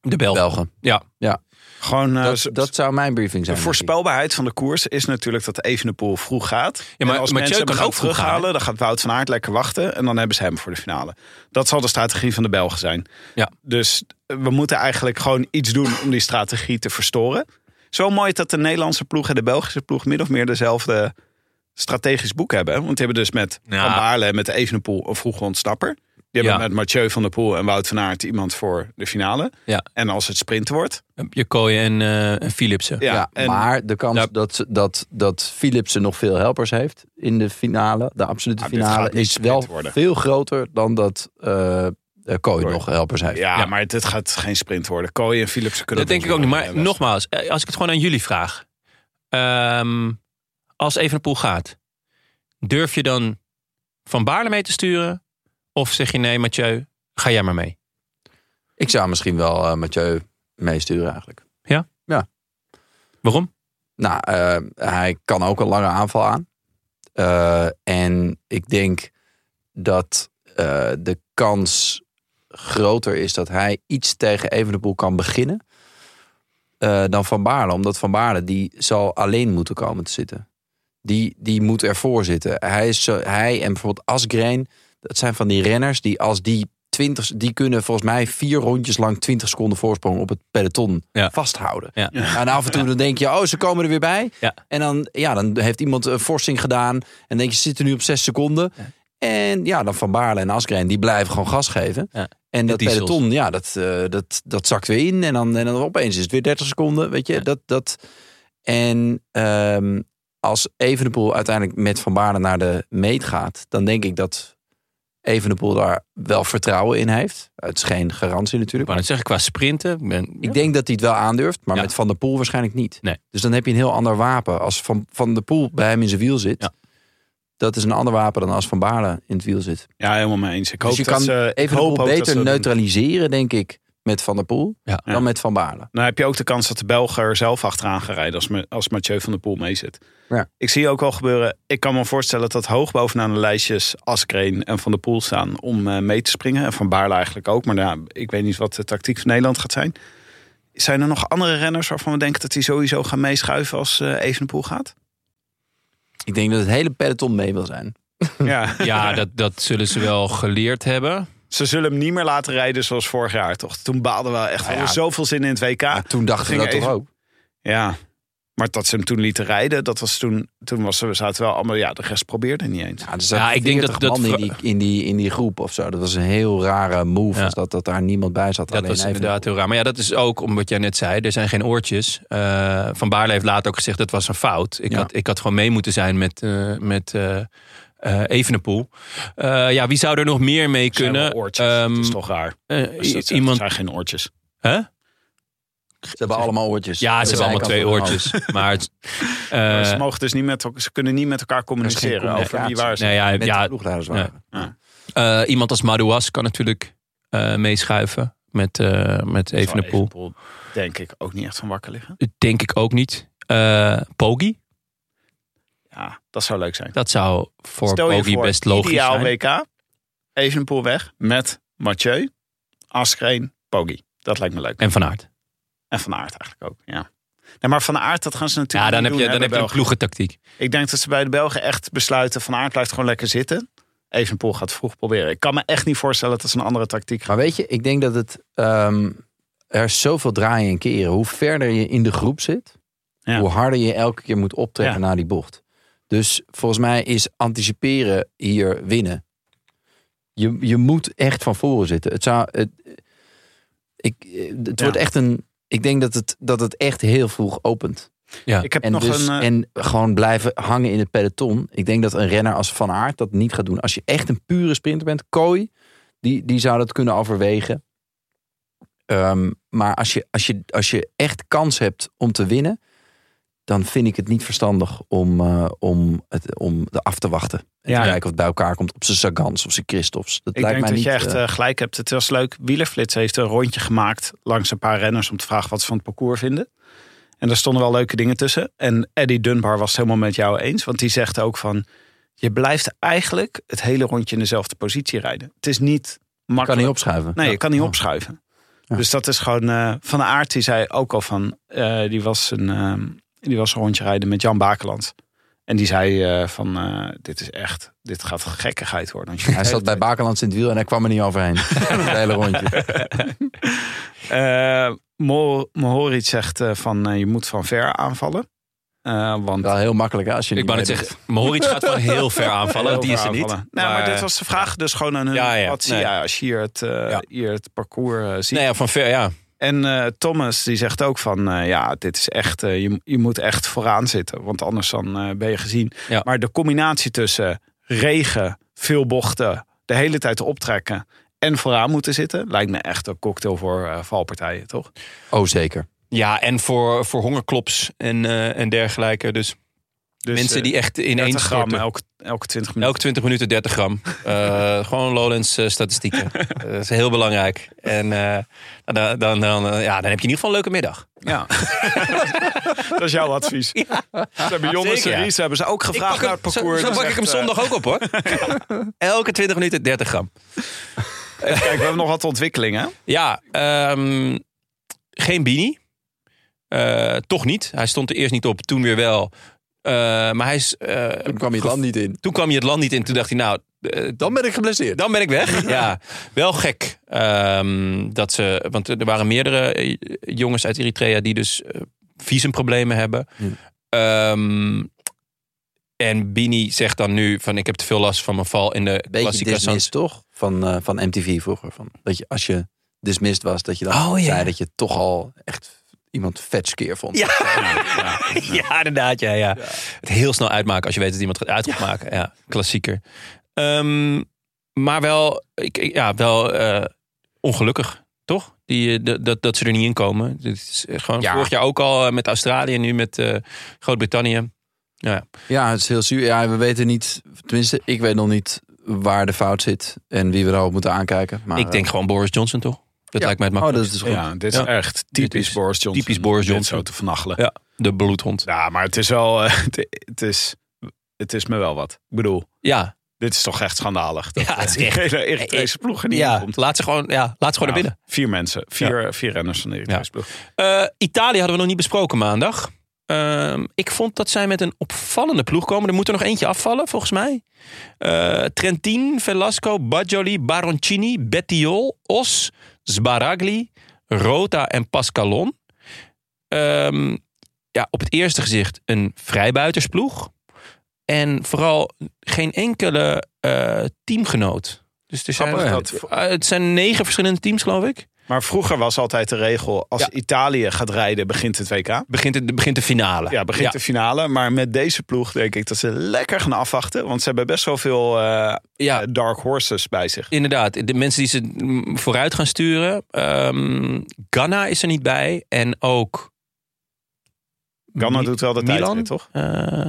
B: de Belg.
A: Belgen.
B: Ja.
C: Gewoon eh,
A: Dat,
C: zo-
A: dat zou mijn briefing zijn.
C: de
A: denk ik.
C: voorspelbaarheid van de koers is natuurlijk dat Evenepoel vroeg gaat.
B: Ja, maar
C: en als
B: Mathieu
C: mensen hem
B: kan
C: gaan
B: ook vroeg gaan,
C: terughalen, dan gaat Wout van Aert lekker wachten. En dan hebben ze hem voor de finale. Dat zal de strategie van de Belgen zijn.
B: Ja.
C: Dus eh, we moeten eigenlijk gewoon iets doen om die strategie te verstoren. Zo mooi dat de Nederlandse ploeg en de Belgische ploeg min of meer dezelfde strategisch boek hebben. Want die hebben dus met
B: Ja.
C: Van Baarle en met Evenepoel een vroege ontsnapper. Die hebben
B: Ja.
C: met Mathieu van der Poel en Wout van Aert iemand voor de finale.
B: Ja.
C: En als het sprint wordt.
B: Je kooien en, eh, en Philipsen.
C: Ja,
A: Ja,
C: en-
A: maar de kans
B: Ja.
A: dat, ze- dat, dat Philipsen nog veel helpers heeft in de finale, de absolute
C: Ah, dit
A: finale,
C: gaat niet
A: is wel
C: sprint worden.
A: veel groter dan dat eh eh, Kooi
C: Kooi.
A: nog helpers heeft.
C: Ja,
B: Ja.
C: maar dit gaat geen sprint worden. Kooi en Philips kunnen
B: Dat denk ik ook niet. Maar
C: nog
B: nogmaals, eh, als ik het gewoon aan jullie vraag. Ehm, als Evenepoel gaat, durf je dan Van Baarle mee te sturen? Of zeg je nee, Mathieu, ga jij maar mee?
A: Ik zou misschien wel eh, Mathieu meesturen eigenlijk.
B: Waarom?
A: Nou, eh, hij kan ook een lange aanval aan. Eh, en ik denk dat eh, de kans groter is dat hij iets tegen Evenepoel kan beginnen eh, dan Van Baarle. Omdat Van Baarle die zal alleen moeten komen te zitten. Die, die moet ervoor zitten. Hij, is zo, hij en bijvoorbeeld Asgreen, dat zijn van die renners die als die 20, die kunnen volgens mij vier rondjes lang 20 seconden voorsprong op het peloton
B: Ja.
A: vasthouden.
B: Ja.
A: En af en toe dan denk je, oh, ze komen er weer bij.
B: Ja.
A: En dan, ja, dan heeft iemand een forsing gedaan. En dan denk je, ze zitten nu op 6 seconden. En ja, dan Van Baarle en Asgreen, die blijven gewoon gas geven.
B: Ja.
A: En dat
B: diesels.
A: peloton, ja, dat, eh, dat, dat zakt weer in. En dan, en dan opeens is het weer 30 seconden, weet je. Dat, dat. En ehm, als Evenepoel uiteindelijk met Van Baarle naar de meet gaat... dan denk ik dat Evenepoel daar wel vertrouwen in heeft. Het is geen garantie
B: Ik
A: natuurlijk.
B: wou net zeggen, qua sprinten. ik Ben,
A: Ik denk dat hij het wel aandurft, maar
B: Ja.
A: met Van der Poel waarschijnlijk niet.
B: Nee.
A: Dus dan heb je een heel ander wapen. Als Van, van der Poel bij hem in zijn wiel zit...
B: Ja.
A: dat is een ander wapen dan als Van Baarle in het wiel zit.
C: Ja, helemaal mee eens. Ik hoop
A: Dus je
C: dat
A: kan
C: ze, ik
A: even de
C: hoop
A: boel
C: ook dat ze
A: beter
C: dat doen.
A: neutraliseren, denk ik, met Van der Poel
B: Ja.
A: dan
C: Ja.
A: met Van Baarle.
C: Dan Nou, heb je ook de kans dat de Belgen er zelf achteraan gaan rijden als, Ma- als Mathieu van der Poel mee zit.
A: Ja.
C: Ik zie ook wel gebeuren. Ik kan me voorstellen dat hoog bovenaan de lijstjes Askreen en Van der Poel staan om eh, mee te springen. En Van Baarle eigenlijk ook. Maar nou, ik weet niet wat de tactiek van Nederland gaat zijn. Zijn er nog andere renners waarvan we denken dat die sowieso gaan meeschuiven als eh Evenepoel gaat?
A: Ik denk dat het hele peloton mee wil zijn.
C: Ja.
B: Ja, dat, dat zullen ze wel geleerd hebben.
C: Ze zullen hem niet meer laten rijden zoals vorig jaar, toch? Toen baalden we wel echt.
A: Nou ja,
C: we hadden zoveel zin in het WK.
A: Maar toen dachten we
C: ging
A: dat toch
C: even-
A: ook.
C: Ja, maar dat ze hem toen lieten rijden, dat was toen, toen was, ze- zaten wel allemaal, ja, de rest probeerde niet eens.
A: Ja, er
B: Ja,
A: zaten
B: ik denk dat-
A: 40
B: dat
A: man in,
B: vra-
A: die, in, die, in die groep of zo. Dat was een heel rare move,
B: Ja.
A: was dat, dat daar niemand bij zat.
B: Dat
A: alleen
B: was
A: even-
B: inderdaad heel raar. Maar ja, dat is ook om wat jij net zei. Er zijn geen oortjes. Eh, Van Baarle heeft later ook gezegd dat was een fout. Ik,
A: Ja.
B: had, ik had gewoon mee moeten zijn met, eh, met eh eh, Evenepoel. Eh, ja, wie zou er nog meer mee
C: Zijn wel
B: kunnen?
C: oortjes,
B: Ehm,
C: dat is toch raar.
B: eh,
C: Als dat, iemand...
B: iemand.
C: zijn geen oortjes.
B: Hè?
A: Ze hebben allemaal oortjes.
B: Ja,
A: De
B: ze hebben allemaal twee
A: zijkant van hun
B: oortjes. Maar het- eh,
C: Maar ze, mogen dus niet met, elk- ze kunnen niet met elkaar communiceren over wie
A: communicatie.
C: waar ze.
B: nee, ja,
A: hoofd. Met
B: ja,
A: de ploegleiders waren.
B: eh, iemand als Madouas kan natuurlijk eh, meeschuiven met, eh met
C: Zal
B: Evenepoel.
C: Denk ik ook niet echt van wakker liggen.
B: Denk ik ook niet. Eh Pogi,
C: Ja, dat zou leuk zijn.
B: dat zou voor
C: Stel je
B: Pogi
C: voor,
B: best logisch
C: ideaal
B: zijn.
C: WK, Evenepoel weg met Mathieu, Askreen, Poggi. Dat lijkt me leuk.
B: En Van Aert.
C: En Van Aert eigenlijk ook, ja. Nee, maar Van Aert, dat gaan ze
B: Ja,
C: natuurlijk
B: dan
C: niet
B: heb je,
C: doen,
B: dan heb
C: hè,
B: je
C: bij
B: een
C: België.
B: ploegentactiek.
C: Ik denk dat ze bij de Belgen echt besluiten van Aert blijft gewoon lekker zitten. Evenpoel gaat vroeg proberen. Ik kan me echt niet voorstellen dat ze een andere tactiek gaan.
A: Maar weet je, ik denk dat het... ehm, er is zoveel draaien en keren. Hoe verder je in de groep zit,
C: Ja.
A: hoe harder je elke keer moet optrekken
C: Ja.
A: naar die bocht. Dus volgens mij is anticiperen hier winnen. Je, je moet echt van voren zitten. Het, zou, het, ik, eh, het
C: Ja.
A: wordt echt een... Ik denk dat het, dat het echt heel vroeg opent.
C: Ik heb
A: En,
C: nog
A: dus,
C: een. eh,
A: en gewoon blijven hangen in het peloton. Ik denk dat een renner als Van Aert dat niet gaat doen. Als je echt een pure sprinter bent, Kooi, die, die zou dat kunnen overwegen. Ehm, maar als je, als, je, als je echt kans hebt om te winnen, dan vind ik het niet verstandig om, eh, om, het, om er af te wachten. En
C: Ja.
A: te kijken of het bij elkaar komt. Op zijn Sagans of zijn Christophs. Dat
C: ik
A: lijkt
C: denk
A: mij
C: dat
A: niet.
C: je echt
A: eh,
C: eh, gelijk hebt. Het was leuk. Wielerflits heeft een rondje gemaakt langs een paar renners om te vragen wat ze van het parcours vinden. En daar stonden wel leuke dingen tussen. En Eddie Dunbar was het helemaal met jou eens. Want die zegt ook van. Je blijft eigenlijk het hele rondje in dezelfde positie rijden. Het is niet makkelijk.
A: kan niet opschuiven.
C: Nee, je kan niet
A: Ja.
C: opschuiven.
A: Ja.
C: Dus dat is gewoon... eh, van de Aert, die zei ook al van... eh, die, was een, ehm, die was een rondje rijden met Jan Bakeland. En die zei eh, van... eh, dit is echt... Dit gaat gekkigheid worden. Want je
A: Hij zat bij Bakelands in het wiel en hij kwam er niet overheen. het hele rondje.
C: Eh, Mo- Mohoric zegt eh, van... eh, je moet van ver aanvallen. Eh, want...
A: Wel heel makkelijk hè, als je
B: Ik
A: niet
B: wou net
A: meedoet.
B: zeggen, Mohoric gaat van heel ver aanvallen. die is er niet.
C: Nou, maar, dit was de vraag dus gewoon aan hun.
B: Ja, ja,
C: wat zie
B: nee.
C: jij als je hier het, eh,
B: Ja.
C: hier het parcours eh, ziet?
B: Nou ja, van ver, ja.
C: En eh, Thomas die zegt ook van eh, ja, dit is echt, eh, je, je moet echt vooraan zitten, want anders dan eh, ben je gezien.
B: Ja.
C: Maar de combinatie tussen regen, veel bochten, de hele tijd optrekken en vooraan moeten zitten, lijkt me echt een cocktail voor eh, valpartijen, toch?
A: Oh, zeker.
B: Ja, en voor, voor hongerklops en, eh, en dergelijke. Dus,
C: Dus,
B: mensen
C: eh,
B: die echt ineens
C: 30 gram
B: storten.
C: elke, elke 20 minuten.
B: Elke 20 minuten 30 gram. Eh, gewoon Lowlands eh, statistieken. dat is heel belank. En eh, dan, dan, dan, eh, ja, dan heb je in ieder geval een leuke middag.
C: Ja. Dat is jouw advies. Ze hebben Jonas
B: Zeker,
C: en
B: ja.
C: Ries hebben ze ook gevraagd naar het
B: zo,
C: parcours.
B: zo
C: Dus
B: pak ik
C: echt,
B: hem
C: eh,
B: zondag ook op hoor. Elke 20 minuten 30 gram.
C: eh, Kijk, we hebben nog wat ontwikkelingen.
B: Ja, ehm, geen Bini. Eh, toch niet. Hij stond er eerst niet op, toen weer wel. Eh, maar hij is, eh,
A: Toen kwam je het land niet in.
B: toen kwam je het land niet in. Toen dacht hij, nou, eh,
A: Dan ben ik geblesseerd.
B: dan ben ik weg. Ja, wel gek. ehm, dat ze, want er waren meerdere eh, jongens uit Eritrea die dus eh, visumproblemen hebben.
A: Ja.
B: Ehm, en Bini zegt dan nu van ik heb te veel last van mijn val in de
A: Beetje
B: klassieke San
A: dismissed, toch? Van, eh, van MTV vroeger. Van, dat je, als je dismissed was, dat je dan
B: Oh, ja.
A: zei dat je toch al echt iemand vetskeer vond.
B: Ja. Ja, inderdaad. Ja, ja. Het heel snel uitmaken als je weet dat iemand het uit gaat maken. Ja, klassieker. Ehm, maar wel, ik, ik- ja, wel eh, ongelukkig, toch? Die, eh, dat- dat, dat ze er niet in komen. Dit is eh, gewoon
A: Ja.
B: vorig jaar ook al eh, met Australië, nu met eh, Groot-Brittannië.
A: Ja, het is heel zuur. Ja, we weten niet, tenminste, ik weet nog niet waar de fout zit en wie we erop moeten aankijken. Maar,
B: Ik denk gewoon Boris Johnson, toch? Dat
A: Ah, Ja.
B: lijkt mij het
A: eh, oh, dat
B: makkelijkst.
A: is goed.
C: Ja, dit is
B: Ja.
C: echt
B: Dit
C: typisch
B: is
C: Boris Johnson.
B: typisch Boris
C: Dit
B: Johnson.
C: zo te vernachelen.
B: Ja. De bloedhond.
C: Ja, maar het is wel. eh, het, het is, het is me wel wat. Ik bedoel,
B: Ja,
C: dit is toch echt schandalig. Dat,
B: Ja, het is
C: eh, die
B: echt-
C: hele Eritrese ploeg er niet in
B: ja.
C: komt.
B: Laat, ze gewoon, ja laat ze gewoon naar
C: Nou,
B: binnen.
C: Vier mensen. Vier, vier renners van de Eritrese ploeg.
B: Eh, Italië hadden we nog niet besproken maandag. Ehm, ik vond dat zij met een opvallende ploeg komen. Er moet er nog eentje afvallen, volgens mij. Eh, Trentin, Velasco, Baggioli, Baroncini, Bettiol, Os, Sbaragli, Rota en Pascalon. Ehm, ja, op het eerste gezicht een vrijbuitersploeg. En vooral geen enkele eh, teamgenoot. Dus er zijn,
C: Grappig
B: Eh, het zijn negen verschillende teams, geloof ik.
C: Maar vroeger was altijd de regel: als
B: Ja.
C: Italië gaat rijden, begint het WK.
B: Begint, het, begint de finale.
C: Ja, begint de finale. Maar met deze ploeg denk ik dat ze lekker gaan afwachten. Want ze hebben best wel veel eh,
B: Ja,
C: dark horses bij zich.
B: inderdaad. De mensen die ze mm, vooruit gaan sturen. ehm, Ghana is er niet bij. En ook...
C: Ganna
B: Mi-
C: doet wel de
B: Milan?
C: tijd, toch?
B: eh,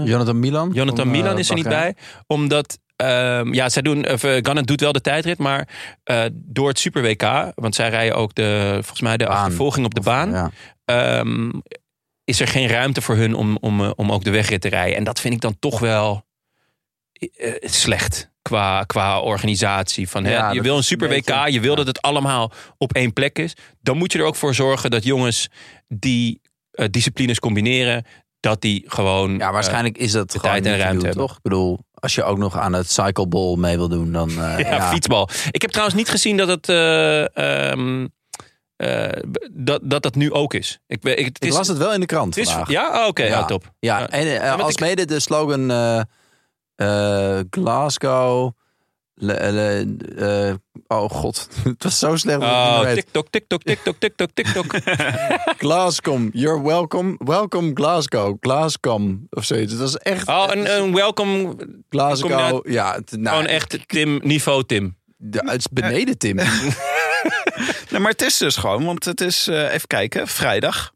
A: Jonathan Milan.
B: Jonathan
A: van, eh,
B: Milan is er niet
A: Bahrein.
B: bij. Omdat... ehm, ja, zij doen, of, eh, Ghana doet wel de tijdrit, maar eh, door het Super WK, want zij rijden ook de, volgens mij de
A: Baan.
B: achtervolging op de baan,
A: Ja.
B: ehm, is er geen ruimte voor hun om, om, eh, om ook de wegrit te rijden. En dat vind ik dan toch wel eh, slecht qua, qua organisatie. Van, hè,
A: Ja,
B: je
A: dat
B: wil een
A: is een
B: super WK,
A: beetje-
B: je wil
A: ja.
B: dat het allemaal op één plek is. Dan moet je er ook voor zorgen dat jongens die eh, disciplines combineren, dat die gewoon...
A: Ja, waarschijnlijk is dat gewoon
B: tijd en
A: niet te
B: ruimte
A: doen,
B: hebben.
A: toch? Ik bedoel, als je ook nog aan het Cycle Bowl mee wil doen, dan... eh,
B: eh, ja, fietsbal. Ik heb trouwens niet gezien dat het... eh, ehm, eh, dat, dat dat nu ook is. Ik, weet- ik, het
A: Ik
B: is,
A: las het wel in de krant
B: het is-
A: vandaag.
B: Ja, Oh, oké,
A: Ja.
B: ja, top.
A: Ja,
B: Ja.
A: en eh,
B: want ik-
A: als mede de slogan eh, eh, Glasgow. le- le- eh, oh god, het was zo slecht. dat ik het niet
B: Oh,
A: meer weet.
B: TikTok, TikTok, TikTok, TikTok, TikTok.
A: Glasgow, you're welcome. Welcome Glasgow, Glasgow of zoiets. Het was echt eh,
B: Oh, een, een welkom.
A: Glasgow.
B: combinatie-
A: Ja, het, nou,
B: Gewoon echt Tim, niveau Tim.
A: ja, het is beneden Tim.
C: Nee, maar het is dus gewoon, want het is, eh, even kijken, vrijdag.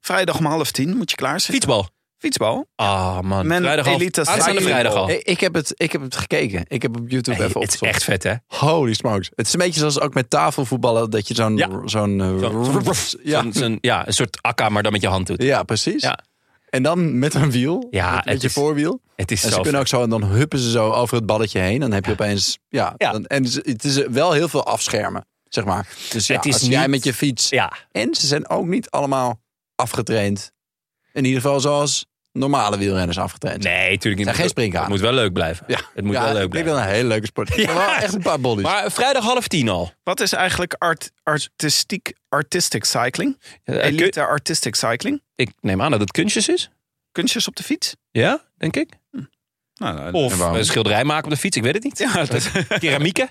C: Vrijdag om half tien moet je klaar zijn.
B: Fietsbal.
C: Fietsbal.
B: Ah, man.
C: Men
B: vrijdag al. Ah,
C: elite
B: Aanstaande
C: cycling.
B: vrijdag al.
A: Hey, ik, heb het, ik heb het gekeken. Ik heb op YouTube
B: Hey,
A: even
B: het is
A: opgezocht.
B: echt vet, hè?
A: Holy smokes. Het is een beetje zoals ook met tafelvoetballen. Dat je zo'n...
B: Ja.
A: zo'n eh,
B: Zo'n-
A: ja.
B: Zo'n- zo'n- ja, een soort akka, maar dan met je hand doet.
A: ja, precies.
B: Ja.
A: En dan met een wiel.
B: Ja,
A: met, met
B: het
A: je
B: is-
A: voorwiel.
B: Het is
A: En
B: zo.
A: ze kunnen ook zo, en dan huppen ze zo over het balletje heen. Dan heb je opeens, ja.
B: Ja.
A: Dan, en ze- het is wel heel veel afschermen, zeg maar. Dus ja,
B: Het is
A: als jij
B: niet-
A: met je fiets...
B: Ja,
A: En ze zijn ook niet allemaal afgetraind. In ieder geval zoals normale wielrenners afgetraind. zijn.
B: nee, natuurlijk
A: zijn
B: niet.
A: geen springhanen.
B: Het moet wel leuk blijven.
A: Ja.
B: Het moet
A: Ja,
B: wel leuk
A: ik denk
B: blijven.
A: wel een hele leuke sport. Ja. Wel echt een paar bollies.
B: Maar vrijdag half tien al.
C: Wat is eigenlijk art, artistiek, artistic cycling?
B: Eh, kun-
C: Elite artistic cycling.
B: ik neem aan dat het kunstjes is.
C: Kunstjes op de fiets?
B: Ja, denk ik.
C: Nou, nou,
B: Of
A: waarom?
B: een schilderij maken op de fiets, ik weet het niet. Ja, Keramieken.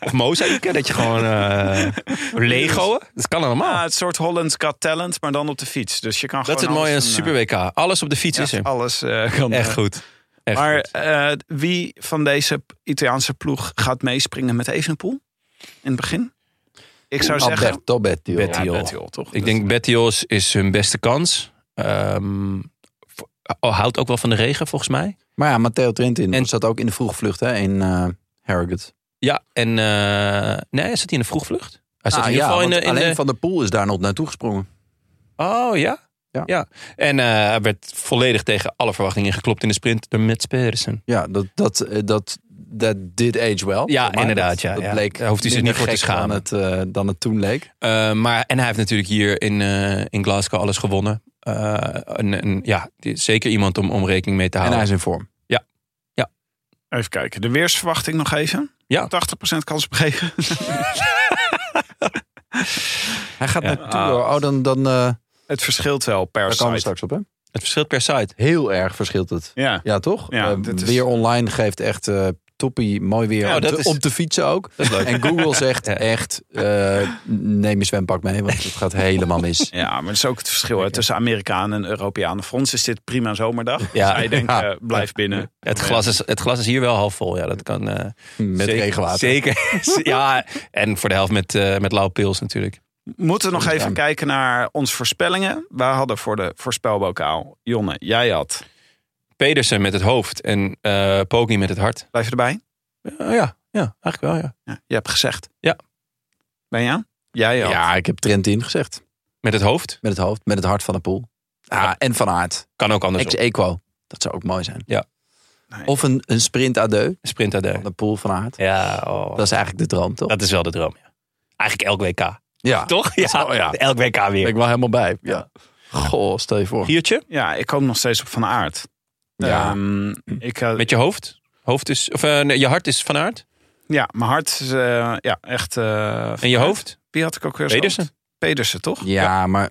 B: of mozaïeken, dat je gewoon... eh Legoën. Dat kan allemaal.
C: ah, het soort Holland's Got Talent, maar dan op de fiets. Dus je kan
B: Dat is het
C: gewoon
B: mooie aan
C: alles
B: Super
C: van,
B: WK. Alles op de fiets
C: eh,
B: is
C: ja,
B: er.
C: Alles eh, kan.
B: Echt
C: eh,
B: goed. Echt
C: maar
B: goed.
C: eh, wie van deze Italiaanse ploeg gaat meespringen met Evenepoel? In het begin? Ik zou
A: Ah,
C: zeggen...
A: Alberto Bettiol.
B: Bettiol.
C: Ja, Bettiol, toch?
B: ik denk Bettios is hun beste kans. Ehm, v- oh, houdt ook wel van de regen, volgens mij.
A: Maar ja, Matteo Trentin
B: En-
A: zat ook in de vroegvlucht hè, in eh Harrogate.
B: Ja, en... eh, nee, zat hij in de vroegvlucht? Hij zat
A: Ah,
B: in ieder
A: ja,
B: geval in de...
A: want
B: in
A: alleen
B: de-
A: Van der Poel is daar nog naartoe gesprongen.
B: Oh, ja?
A: Ja.
B: En eh, hij werd volledig tegen alle verwachtingen geklopt in de sprint door Mats Pedersen.
A: Ja, dat, dat, eh, dat, dat did age well.
B: Ja,
A: zeg maar.
B: inderdaad,
A: Dat-
B: ja,
A: dat
B: ja.
A: bleek
B: Daar hoeft hij zich
A: minder
B: niet voor te
A: gek dan
B: schamen.
A: het, eh, dan het toen leek.
B: Eh, maar, en hij heeft natuurlijk hier in, eh, in Glasgow alles gewonnen. Eh, eh, een, een- ja, die- zeker iemand om, om rekening mee te
A: En
B: houden.
A: hij is in vorm.
C: Even kijken, de weersverwachting nog even.
B: Ja.
C: 80% kans op regen.
A: Hij gaat
B: Ja.
A: naar Tour. Oh, dan, dan eh,
C: Het verschilt wel per
A: daar komen we
C: site.
A: straks op, hè?
B: Het verschilt per site.
A: Heel erg verschilt het.
C: Ja.
A: Ja, toch?
C: Ja,
A: Eh,
C: dit is-
A: Weer online geeft echt eh, toppie mooi weer
B: Ja,
A: om,
B: dat
A: te,
B: is-
A: om te fietsen ook. En Google zegt
B: Ja.
A: echt, eh, neem je zwempak mee, want het gaat helemaal mis.
C: Ja, maar dat is ook het verschil hè, tussen Amerikanen en Europeanen. Voor ons is dit prima zomerdag.
A: Ja.
C: Ja. Zij denken,
A: Ja.
C: eh, blijf binnen.
B: Het glas, is, het glas is hier wel half vol. Ja, dat kan, eh,
A: Met
B: zeker-
A: regenwater.
B: Zeker. ja, en voor de helft met, eh met lauwe pils natuurlijk.
C: Moeten we nog even
A: Ja.
C: kijken naar onze voorspellingen. We hadden voor de voorspelbokaal, Jonne, jij had.
B: Pedersen met het hoofd en eh Pogni met het hart.
C: Blijf je erbij?
B: Eh, ja, ja, eigenlijk wel, ja.
C: Ja, je hebt gezegd.
B: Ja.
C: Benja? Jij had.
A: Ja, ik heb Trent ingezegd.
B: Met het hoofd?
A: Met het hoofd, met het hart van de poel. Ah, en van aard.
B: Kan ook andersom.
A: Ex-equo. Dat zou ook mooi zijn.
B: Ja.
C: Nee.
A: Of een, een sprint à deux
B: Sprint AD.
A: van de poel van aard.
B: Ja, oh.
A: Dat is eigenlijk de droom, toch?
B: dat is wel de droom. Ja. Eigenlijk elk WK.
A: ja, daar
B: Toch? Ja,
A: zou- ja.
B: elk WK
A: ben
B: weer.
A: ik wel helemaal bij. Ja. Goh, stel je voor.
B: Giertje?
C: Ja, ik hoop nog steeds op Van Aert.
A: Ja.
C: Ehm, ik, eh,
B: Met je hoofd? hoofd is, of, eh, nee, je hart is van aard.
C: ja, mijn hart is eh, ja, echt... eh,
B: En je hoofd?
C: Wie had ik ook weer? zo?
B: Pedersen.
C: Pedersen, toch?
A: Ja, maar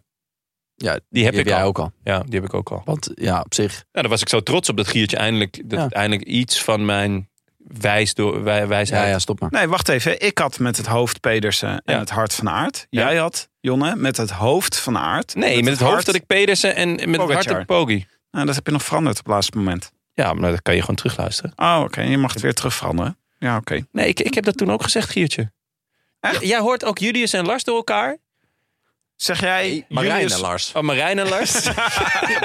B: Die heb
A: die heb
B: ik
A: jij
B: al.
A: ook al.
B: Ja, die heb ik ook al.
A: Want ja, op zich.
B: Nou, dan was ik zo trots op dat Giertje eindelijk, dat
A: Ja.
B: het eindelijk iets van mijn wijs door, wij,
A: Ja,
B: wijsheid.
A: ja, stop maar.
C: Nee, wacht even. Ik had met het hoofd Pedersen en
B: Ja.
C: het hart van Aert.
B: Ja.
C: Jij had, Jonne, met het hoofd van Aert.
B: Nee, met het, hoofd
C: hart-
B: dat ik Pedersen en met het hart
C: Pogacar.
B: dat ik Pogi.
C: Nou, dat heb je nog veranderd op het laatste moment.
B: Ja, maar dat kan je gewoon terugluisteren.
C: Oh, oké. Je mag het weer terug veranderen. Ja, oké.
B: Nee, ik, ik heb dat toen ook gezegd, Giertje.
C: Echt?
B: J- Jij hoort ook Julius en Lars door elkaar.
C: Zeg jij...
A: Marijn en
C: Julius-
A: Lars.
B: Oh, Marijn en Lars.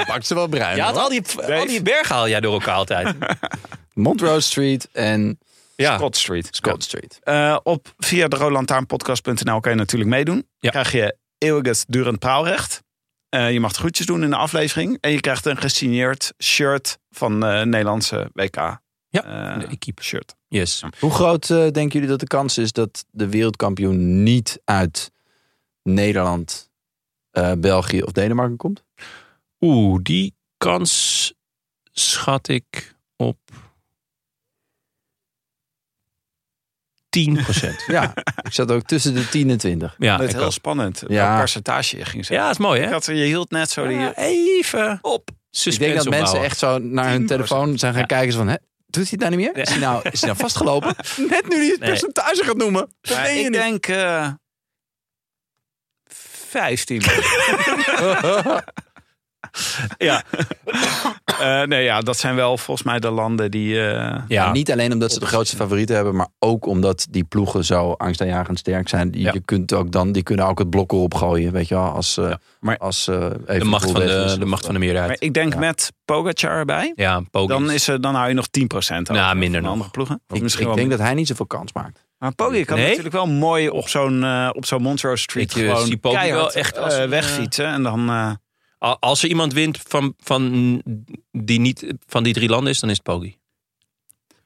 A: Pak ze wel bruin.
B: Je haalt al die, al die bergen haal jij door elkaar altijd.
A: Montrose Street en
B: Ja.
C: Scott Street.
A: Scott Street.
C: Eh, op via de roodlantaarnpodcast.nl kan je natuurlijk meedoen.
B: Ja.
C: Krijg je eeuwig het durend praalrecht. Eh, je mag de groetjes doen in de aflevering. En je krijgt een gesigneerd shirt van eh Nederlandse WK.
B: Ja,
C: Eh,
B: de equipe.
C: Shirt.
B: Yes.
A: Hoe groot eh, denken jullie dat de kans is dat de wereldkampioen niet uit Nederland, eh, België of Denemarken komt?
B: Oeh, die kans schat ik op 10
A: Ja, ik zat ook tussen de 10 en 20.
B: ja,
C: Dat
B: Ah, ik
C: is heel
B: ook.
C: spannend.
A: Ja.
C: Welk percentage je ging zeggen.
B: ja, is mooi hè?
C: Dat je hield net zo die...
B: Ja, even
C: op.
B: suspense
A: ik denk dat mensen
B: opbouwen.
A: echt zo naar hun
C: 10%.
A: telefoon zijn gaan
B: Ja.
A: kijken. zo van, hè, doet hij het nou niet meer? Is hij nou, is hij nou vastgelopen? Net nu hij het
B: Nee.
A: percentage gaat noemen. Dat
C: Ja,
A: meen je
C: ik
A: niet.
C: denk eh 15. ja. Eh, nee, ja, dat zijn wel volgens mij de landen die. eh,
A: En
B: Ja,
A: Niet alleen omdat ze de grootste favorieten hebben, maar ook omdat die ploegen zo angstaanjagend sterk zijn. Je,
B: Ja.
A: je kunt ook dan, die kunnen ook het blok erop gooien, weet je wel. Als, eh,
C: Maar-
A: als, eh,
B: de
A: even dus-
B: macht, van
A: Poel weg
B: de,
A: is.
B: de macht van de
C: maar
B: meerderheid.
C: ik denk
A: Ja.
C: met Pogacar erbij.
B: Ja, Pogi.
C: Dan, is, er- dan hou je nog 10% over
B: Nou, minder
C: van de
B: nog.
C: andere ploegen. Of
A: Ik,
C: misschien
A: ik
C: wel-
A: denk dat hij niet zoveel kans maakt.
C: Maar Poggi kan
B: Nee?
C: natuurlijk wel mooi op zo'n eh, op zo'n Montrose Street
B: Ik, eh,
C: gewoon
B: zie Poggi
C: keihard,
B: wel echt
C: eh,
B: als een,
C: wegfietsen. En dan, eh,
B: Al- Als er iemand wint van, van, die niet van die drie landen is, dan is het Pogi.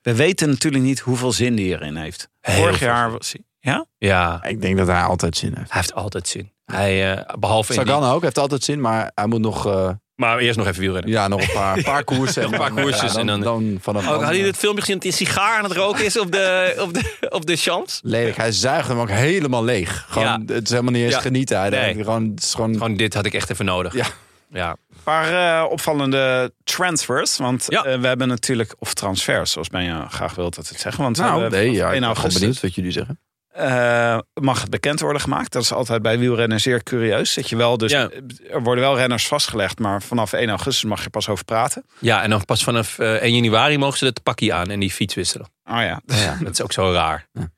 C: we weten natuurlijk niet hoeveel zin die erin heeft.
B: Heel
C: Vorig
B: veel
C: jaar was hij... Ja?
B: Ja,
A: Ik denk dat hij altijd zin heeft.
B: hij heeft altijd zin. Hij, eh, behalve in die-
A: Sagan ook, heeft altijd zin, maar hij moet nog, eh,
B: Maar eerst nog even wielrennen.
A: ja, nog een paar, paar koersen. en
B: Nog een paar
A: dan,
B: koersen
A: ja,
B: en
A: dan, dan
B: Oh,
A: vanaf dan,
B: hadden jullie
A: eh,
B: het filmpje gezien dat hij een sigaar aan het roken is op de, op de, op de champs?
A: Lelijk, hij zuigt hem ook helemaal leeg. Gewoon,
B: Ja.
A: Het is helemaal niet eens
B: Ja.
A: genieten. Hij
B: Nee.
A: denkt gewoon, het is gewoon
B: Gewoon, dit had ik echt even nodig.
A: Ja.
B: ja.
C: Een paar eh, opvallende transfers. Want
B: Ja.
C: eh, we hebben natuurlijk, of transfers, zoals ben je graag wilt dat het zeggen. Want we
A: Nou,
C: hebben
A: nee, ja, ik
C: in
A: ben gewoon
C: augustus
A: benieuwd wat jullie zeggen.
C: eh, mag het bekend worden gemaakt. Dat is altijd bij wielrennen zeer curieus. Dat je wel, dus
B: Ja.
C: er worden wel renners vastgelegd, maar vanaf 1 augustus mag je pas over praten.
B: ja, en dan pas vanaf eh, 1 januari mogen ze het pakje aan en die fiets wisselen.
C: Oh ja,
A: Ja.
B: Dat is ook zo raar.
A: Ja.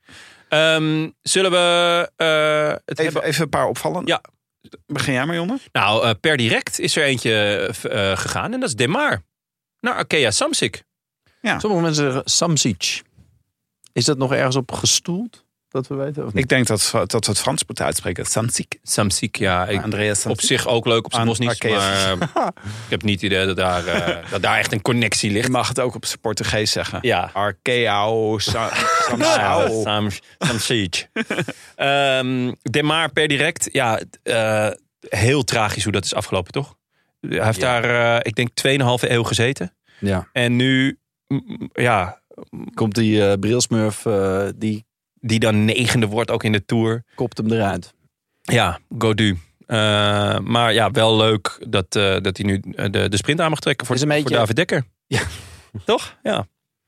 B: Ehm, zullen we eh, het
C: even,
B: hebben?
C: even een paar opvallende.
B: Ja.
C: Begin jij maar, Jonne.
B: Nou, eh, per direct is er eentje eh, v- eh, gegaan en dat is Demar. Naar Arkea Samsic.
A: Sommige mensen zeggen Samsic. Is dat nog ergens op gestoeld? Dat we weten of niet?
C: Ik denk dat, dat we het Frans moeten uitspreken. Samsic.
B: Samsic, ja. Ik,
C: Andreas
B: op
C: Samsic.
B: zich ook leuk op zijn
C: Aan
B: Bosnisch,
C: Arkea.
B: maar eh, ik heb niet het idee dat daar, eh, dat daar echt een connectie
C: Je
B: ligt.
C: mag het ook op zijn Portugees zeggen.
B: Ja.
C: Arkeao, Sa- Nou.
B: Ja,
C: Samsic.
B: Sam, Sam Siege. Ehm, Demar per direct. Ja, eh, heel tragisch hoe dat is afgelopen, toch? Hij heeft
A: Ja.
B: daar, eh, ik denk, 2,5 eeuw gezeten.
A: Ja.
B: En nu, mm, ja,
A: Komt die eh, brilsmurf, eh, die
B: die dan negende wordt ook in de Tour.
A: kopt hem eruit.
B: Ja, Godu. Eh, maar ja, wel leuk dat, eh, dat hij nu eh, de, de sprint aan mag trekken voor,
A: Is een beetje-
B: voor David Dekker.
A: Ja.
B: Toch? Ja.
A: Een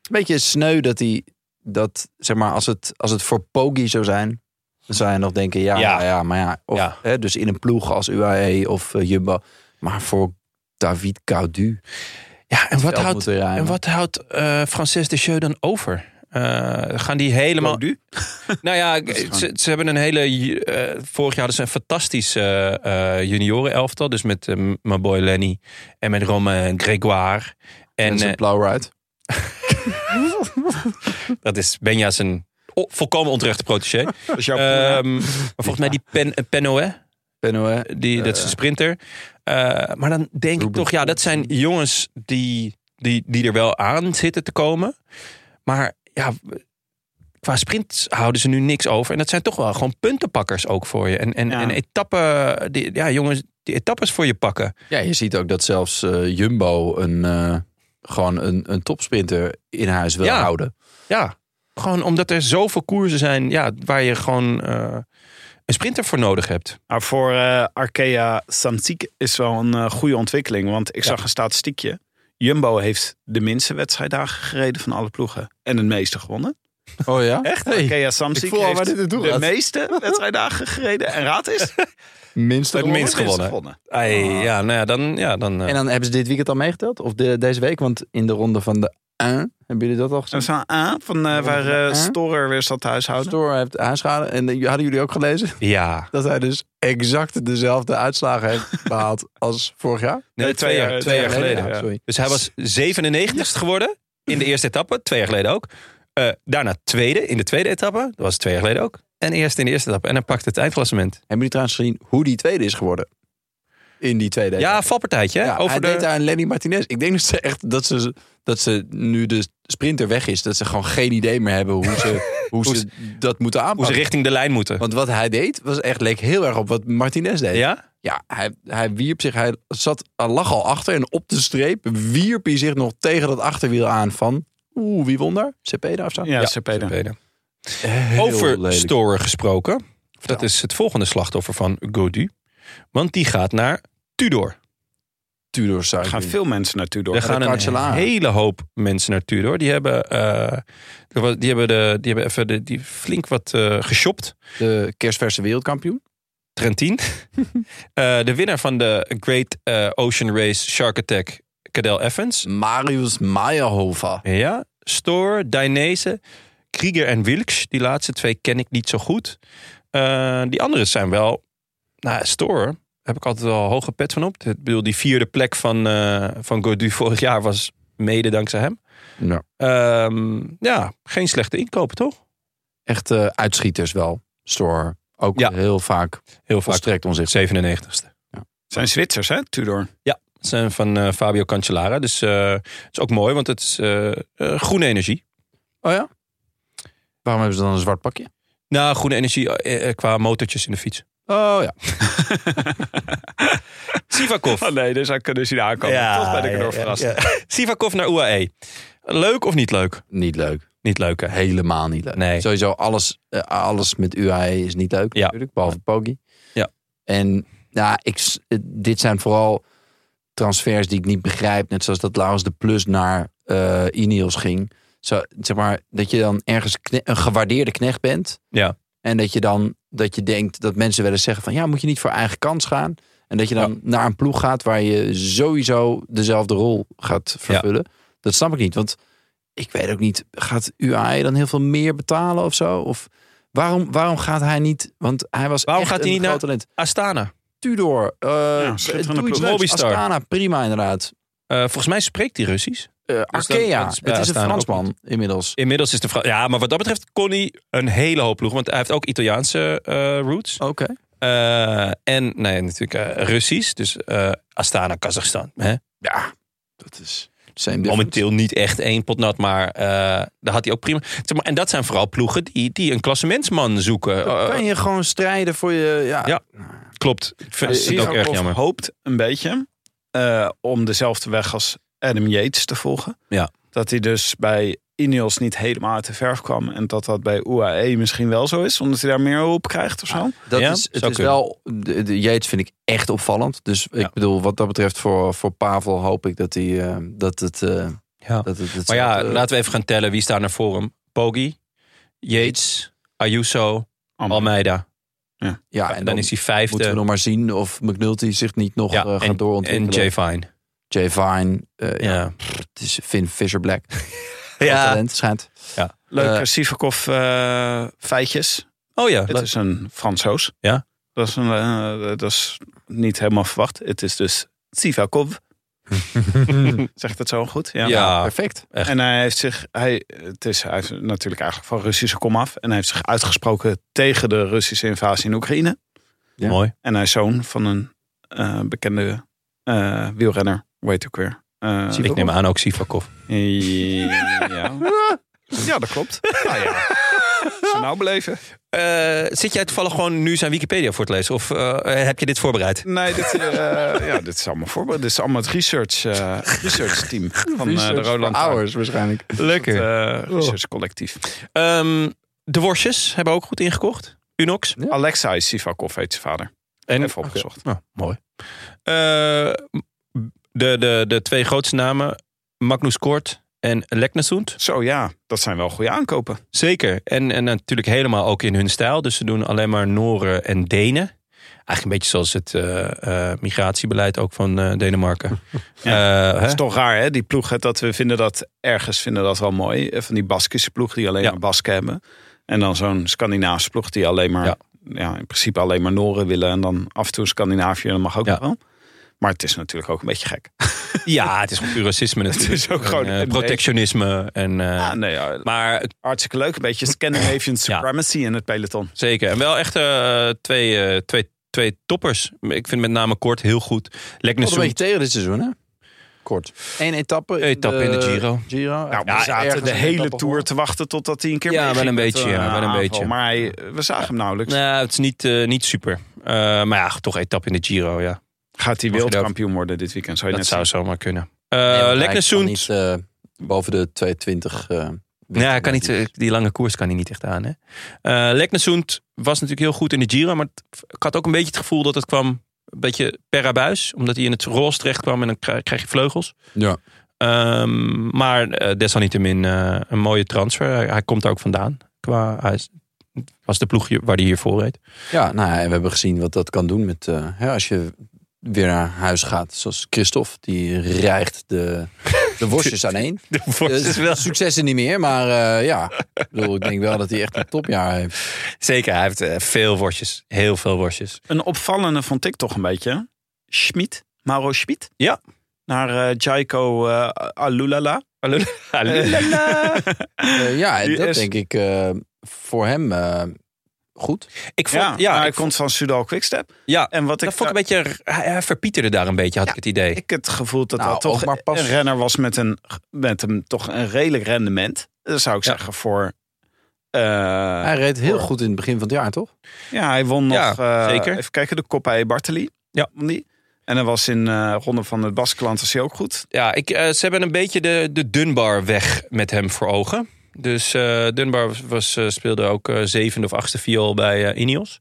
A: beetje sneu dat hij, dat, zeg maar, als het, als het voor Poggi zou zijn, dan zou je nog denken, ja,
B: Ja.
A: ja, ja maar ja. Of,
B: Ja.
A: Hè, dus in een ploeg als UAE of eh, Jumbo. Maar voor David Caudu.
B: ja en, wat
A: veld
B: houdt,
A: moeten rijden.
B: en wat houdt eh Frances de Jeu dan over? Eh, gaan die helemaal...
C: Godu?
B: Nou ja,
A: is gewoon-
B: ze, ze hebben een hele... ju- eh, vorig jaar hadden ze een fantastisch eh, eh, junioren-elftal. Dus met eh, mijn boy Lenny en met Romain Grégoire. En,
A: En
B: eh,
A: zijn blauw ride.
B: dat is Benja zijn oh, volkomen onterechte protégé.
C: Dat is jouw
B: Ehm,
C: broer.
B: maar volgens mij die Pen, eh, Pennoë,
A: Benoit.
B: Die, dat is een sprinter. Eh, maar dan denk ik
A: Ruben
B: toch, ja, dat zijn jongens die, die, die er wel aan zitten te komen. Maar ja, qua sprint houden ze nu niks over. En dat zijn toch wel gewoon puntenpakkers ook voor je. En, en,
C: Ja.
B: en etappen, die, ja, jongens, die etappes voor je pakken.
A: Ja, je ziet ook dat zelfs eh, Jumbo een, eh, gewoon een, een topsprinter in huis wil
B: Ja.
A: houden.
B: Ja, gewoon omdat er zoveel koersen zijn ja, waar je gewoon eh, een sprinter voor nodig hebt.
C: Maar voor eh, Arkea Samsic is wel een eh, goede ontwikkeling. Want ik zag een statistiekje. Jumbo heeft de minste wedstrijddagen gereden van alle ploegen. En het meeste gewonnen.
A: Oh ja? Echt?
C: Arkea Samsic
A: ik voel al waar
C: heeft
A: dit naartoe
C: de
A: gaat.
C: meeste wedstrijddagen gereden. En raad is?
A: Minst
B: Het
A: gewonnen.
B: minst gewonnen. Ai, ja, nou ja, dan... Ja, dan eh,
A: En dan hebben ze dit weekend al meegeteld? Of de, deze week? Want in de ronde van de 1 hebben jullie dat al
C: Dat
A: gezien?
C: is wel A, van eh, waar eh, Storer weer zat te huishouden.
A: Store heeft aanschade. En eh, hadden jullie ook gelezen
B: ja.
A: dat hij dus exact dezelfde uitslagen heeft behaald als vorig jaar?
B: Nee, twee jaar, twee jaar geleden.
A: Ja, sorry.
B: Dus hij was 97 geworden in de eerste etappe, twee jaar geleden ook. Eh, daarna tweede in de tweede etappe, dat was twee jaar geleden ook. En eerste in de eerste etappe. En dan pakt het eindklassement.
A: Hebben jullie trouwens gezien hoe die tweede is geworden? In die tweede.
B: Ja, valpartijtje. hè?
A: Ja, hij
B: Over
A: deed
B: de...
A: daar een Lenny Martinez. Ik denk dat ze echt dat ze, dat ze nu de sprinter weg is, dat ze gewoon geen idee meer hebben hoe ze, hoe
B: Hoe
A: ze dat moeten
B: Hoe ze
A: aanpakken.
B: richting de lijn moeten.
A: Want Oh. wat hij deed was echt leek heel erg op wat Martinez deed.
B: Ja?
A: Ja, hij, hij wierp zich, hij zat, hij lag al achter en op de streep wierp hij zich nog tegen dat achterwiel aan van. Oeh, wie won daar? Cepeda of zo?
C: Ja,
B: Ja,
C: Cepeda.
B: Cepeda.
A: Heel
B: Over
A: lelijk.
B: Storer gesproken. Dat is het volgende slachtoffer van Godu. Want die gaat naar Tudor.
A: Tudor zou
C: Er
A: ik
C: gaan
A: doen.
C: veel mensen naartoe door.
B: Er
A: de
B: gaan een
A: Cancellara.
B: hele hoop mensen naar Tudor. Die hebben, eh, die hebben, de, die hebben even de, die flink wat eh geshopt.
A: De kerstverse wereldkampioen.
B: Trentin. Eh, de winnaar van de Great eh, Ocean Race Shark Attack, Cadel Evans.
A: Marius Meyerhofer.
B: Ja, Stoor, Dainese, Krieger en Wilks. Die laatste twee ken ik niet zo goed. Eh, die andere zijn wel... Nou, Stoor heb ik altijd wel een hoge pet van op. Ik bedoel, die vierde plek van, eh van Godu vorig jaar was mede dankzij hem.
A: Nou,
B: Ehm, ja, geen slechte inkopen, toch?
A: echt eh, uitschieters wel. Store ook
B: Ja.
A: heel vaak
B: Heel vaak.
A: volstrekt onzicht.
B: 97ste.
C: Het zijn Zwitsers, hè, Tudor.
B: Het zijn van eh, Fabio Cancellara. Dus eh, het is ook mooi, want het is eh, eh, groene energie.
A: Oh ja? Waarom hebben ze dan een zwart pakje?
B: Nou, groene energie eh, eh, qua motortjes in de fiets.
A: Oh ja.
B: Sivakov.
C: Oh nee, dus hij kunnen zien aankomen. Toch ben ik erdoor verrast.
B: Sivakov naar UAE. Leuk of niet leuk?
A: Niet leuk.
B: Niet leuk, hè?
A: Helemaal niet leuk.
B: Nee.
A: Sowieso alles, eh, alles met UAE is niet leuk
B: Ja.
A: natuurlijk. Behalve Poggi.
B: Ja.
A: En nou, ik, s- eh, dit zijn vooral transfers die ik niet begrijp. Net zoals dat Laurens de Plus naar eh Ineos ging. Zo, zeg maar, dat je dan ergens kne- een gewaardeerde knecht bent.
B: Ja.
A: En dat je dan dat je denkt dat mensen wel eens zeggen van ja, moet je niet voor eigen kans gaan. En dat je dan naar een ploeg gaat waar je sowieso dezelfde rol gaat vervullen. Dat snap ik niet. Want ik weet ook niet, gaat UAE dan heel veel meer betalen of zo? Of waarom, waarom gaat hij niet? Want hij was
B: Waarom
A: echt
B: gaat hij
A: een
B: niet
A: groot
B: naar-
A: talent.
B: Astana.
A: Tudor, eh
C: schitterende
A: doe iets
C: ploeg.
A: leuks.
B: Mobistar.
A: Astana, prima inderdaad.
B: Eh, volgens mij spreekt hij Russisch.
A: Eh
B: Dus dan-
A: Arkea,
B: dat is bij
A: het is een
B: Astana ook
A: Fransman inmiddels.
B: Inmiddels is de vraag... Ja, maar wat dat betreft kon hij een hele hoop ploeg. Want hij heeft ook Italiaanse eh, roots.
A: Oké.
B: Eh, en nee, natuurlijk eh, Russisch. Dus eh, Astana, Kazachstan. Hè?
A: Ja, dat is same difference.
B: Momenteel niet echt één pot nat, maar eh, daar had hij ook prima. Zeg maar, en dat zijn vooral ploegen die, die een klassementsman zoeken. Eh,
A: Kan je gewoon strijden voor je... Ja,
B: Ja. klopt. Ik vind
A: Ja,
B: het ook erg
C: Sivakov
B: jammer.
C: hoopt een beetje. Eh, eh, om dezelfde weg als Adam Yates te volgen.
A: Ja.
C: Dat hij dus bij Ineos niet helemaal uit de verf kwam. En dat dat bij UAE misschien wel zo is. Omdat hij daar meer op krijgt of zo.
B: Ah.
A: Dat
B: Ja,
A: is, het
B: zou
A: is
B: kunnen.
A: wel, de, de Yates vind ik echt opvallend. Dus ik
B: Ja.
A: bedoel, wat dat betreft voor, voor Pavel hoop ik dat hij, eh, dat het... eh,
B: Ja.
A: dat het, het
B: Maar ja,
A: eh,
B: laten we even gaan tellen. Wie staat naar voren? Poggi, Yates, Ayuso, Almeida.
A: ja,
B: En
A: en
B: dan is hij
A: Moeten we
B: vijfde.
A: nog maar zien of McNulty zich niet nog
B: Ja,
A: eh, gaat
B: en, en
A: doorontwikkelen.
B: Jay Fine.
A: Jay Vine. eh, ja.
B: Ja.
A: Het is Finn Fisher Black. Groot
B: ja.
A: Talent schijnt.
C: Leuke
A: Eh.
C: Sivakov eh, feitjes.
B: Oh ja.
C: Het is een Fransoos.
B: Ja.
C: Dat is, een, eh, dat is niet helemaal verwacht. Het is dus Sivakov. Zegt het zo goed? Ja.
B: Ja.
A: Perfect.
B: echt.
C: En hij heeft zich, hij, het is, hij is natuurlijk eigenlijk van Russische komaf. En hij heeft zich uitgesproken tegen de Russische invasie in Oekraïne.
A: Ja.
B: Mooi.
C: En hij is zoon van een eh, bekende eh, wielrenner. Hoe heet hij ook weer? Eh,
B: Ik neem aan ook Sivakov.
C: Ja. ja, dat klopt. Nou ja. Zo nou beleven.
B: Eh, zit jij toevallig gewoon nu zijn Wikipedia voor te lezen? Of eh, heb je dit voorbereid?
C: Nee, dit, eh, ja, dit is allemaal voorbeeld. Dit is allemaal het research, eh, research team van eh, de Roland
A: Hours waarschijnlijk.
C: Het,
B: Lekker.
C: eh, research collectief.
B: Ehm, de worstjes hebben ook goed ingekocht. Unox.
A: Ja.
C: Alexei Sivakov heet zijn vader.
B: En,
C: Even opgezocht.
B: Nou, mooi. Eh, de, de, de twee grootste namen, Magnus Kort en Leknesund.
C: Zo ja, dat zijn wel goede aankopen.
B: Zeker. En, en natuurlijk helemaal ook in hun stijl. Dus ze doen alleen maar Nooren en Denen. Eigenlijk een beetje zoals het eh, eh, migratiebeleid ook van eh, Denemarken. Eh, hè?
C: Dat is toch raar hè, die ploeg. hè, Dat we vinden dat ergens vinden dat wel mooi. Eh, Van die Baskische ploeg die alleen
B: Ja.
C: maar Basken hebben. En dan zo'n Scandinavische ploeg die alleen maar...
B: Ja.
C: Ja. in principe alleen maar Noren willen. En dan af en toe Scandinavië, dat mag ook
B: Ja.
C: nog wel. Maar het is natuurlijk ook een beetje gek.
B: Ja, het is gewoon puur racisme natuurlijk.
C: is ook
B: En,
C: gewoon
B: eh,
C: een beetje-
B: protectionisme. En, eh,
C: Ah, nee, ja,
B: Maar
C: Hartstikke leuk. Een beetje Scandinavian supremacy in het peloton.
B: zeker. En wel echt eh, twee, eh, twee, twee toppers. Ik vind met name Kort heel goed.
A: Nog een beetje
B: Leknesund.
A: tegen dit seizoen, hè? Kort. Eén etappe.
B: Etappe in de Giro.
A: Giro.
C: Nou, we zaten de hele tour te wachten totdat hij een keer
B: Ja,
C: meeging
B: wel een
C: met
B: beetje, ja, wel een
C: aanval.
B: beetje.
C: Maar hij, we zagen hem nauwelijks.
B: Nou, het is niet, eh, niet super. Eh, maar ja, toch etappe in de Giro, ja.
C: Gaat hij
B: Mag je
C: wereldkampioen worden dit weekend? Zou je
B: Dat
C: net
B: zou zomaar kunnen. Eh
A: Leknesund.
B: Leknesund.
A: niet eh, boven de 220. eh,
B: Ja, hij kan niet, eh, die lange koers kan hij niet echt aan. Hè? Eh Leknesund was natuurlijk heel goed in de Giro. Maar het- ik had ook een beetje het gevoel dat het kwam een beetje per abuis. Omdat hij in het roze terecht kwam en dan krijg, krijg je vleugels.
A: Ja.
B: Ehm, maar eh, desalniettemin eh, een mooie transfer. Hij, hij komt daar ook vandaan. Qua, hij is- was de ploeg hier- waar hij hiervoor reed.
A: Ja, nou ja, en we hebben gezien wat dat kan doen met eh, hè, als je weer naar huis gaat, zoals Christophe, die rijgt de, de worstjes aan één. Eh,
B: is wel-
A: Successen niet meer, maar eh, ja, ik, bedoel, ik denk wel dat hij echt een topjaar heeft.
B: Zeker, hij heeft eh, veel worstjes. Heel veel worstjes.
C: Een opvallende vond ik toch een beetje. Schmid, Mauro Schmid.
B: Ja.
C: Naar eh, Jaiko eh, Alulala.
A: Eh, ja, en
C: Die
A: dat
C: is-
A: denk ik eh, voor hem eh, goed.
B: ik vond,
C: Ja,
B: ja,
C: ja hij
B: ik vond,
C: komt van Sudal Quickstep.
B: ja
C: En wat ik,
B: dat vond ik een beetje, hij, hij verpieterde daar een beetje, had ik het idee.
C: ik het gevoel dat
A: Nou,
C: dat toch
A: ook maar pas-
C: een renner was met een, met een, toch een redelijk rendement. Dat zou ik
B: Ja.
C: zeggen voor... eh,
A: Hij reed heel goed in het begin van het jaar, toch?
C: Ja, hij won
B: Ja,
C: nog. eh,
B: zeker.
C: Even kijken, de Coppa e Bartoli.
B: Ja.
C: Won die. En dan was in eh Ronde van het Baskeland was hij ook goed.
B: Ja, ik, eh, ze hebben een beetje de, de Dunbar weg met hem voor ogen. Dus eh, Dunbar was, was, eh, speelde ook eh, zevende of achtste viool bij eh, Ineos.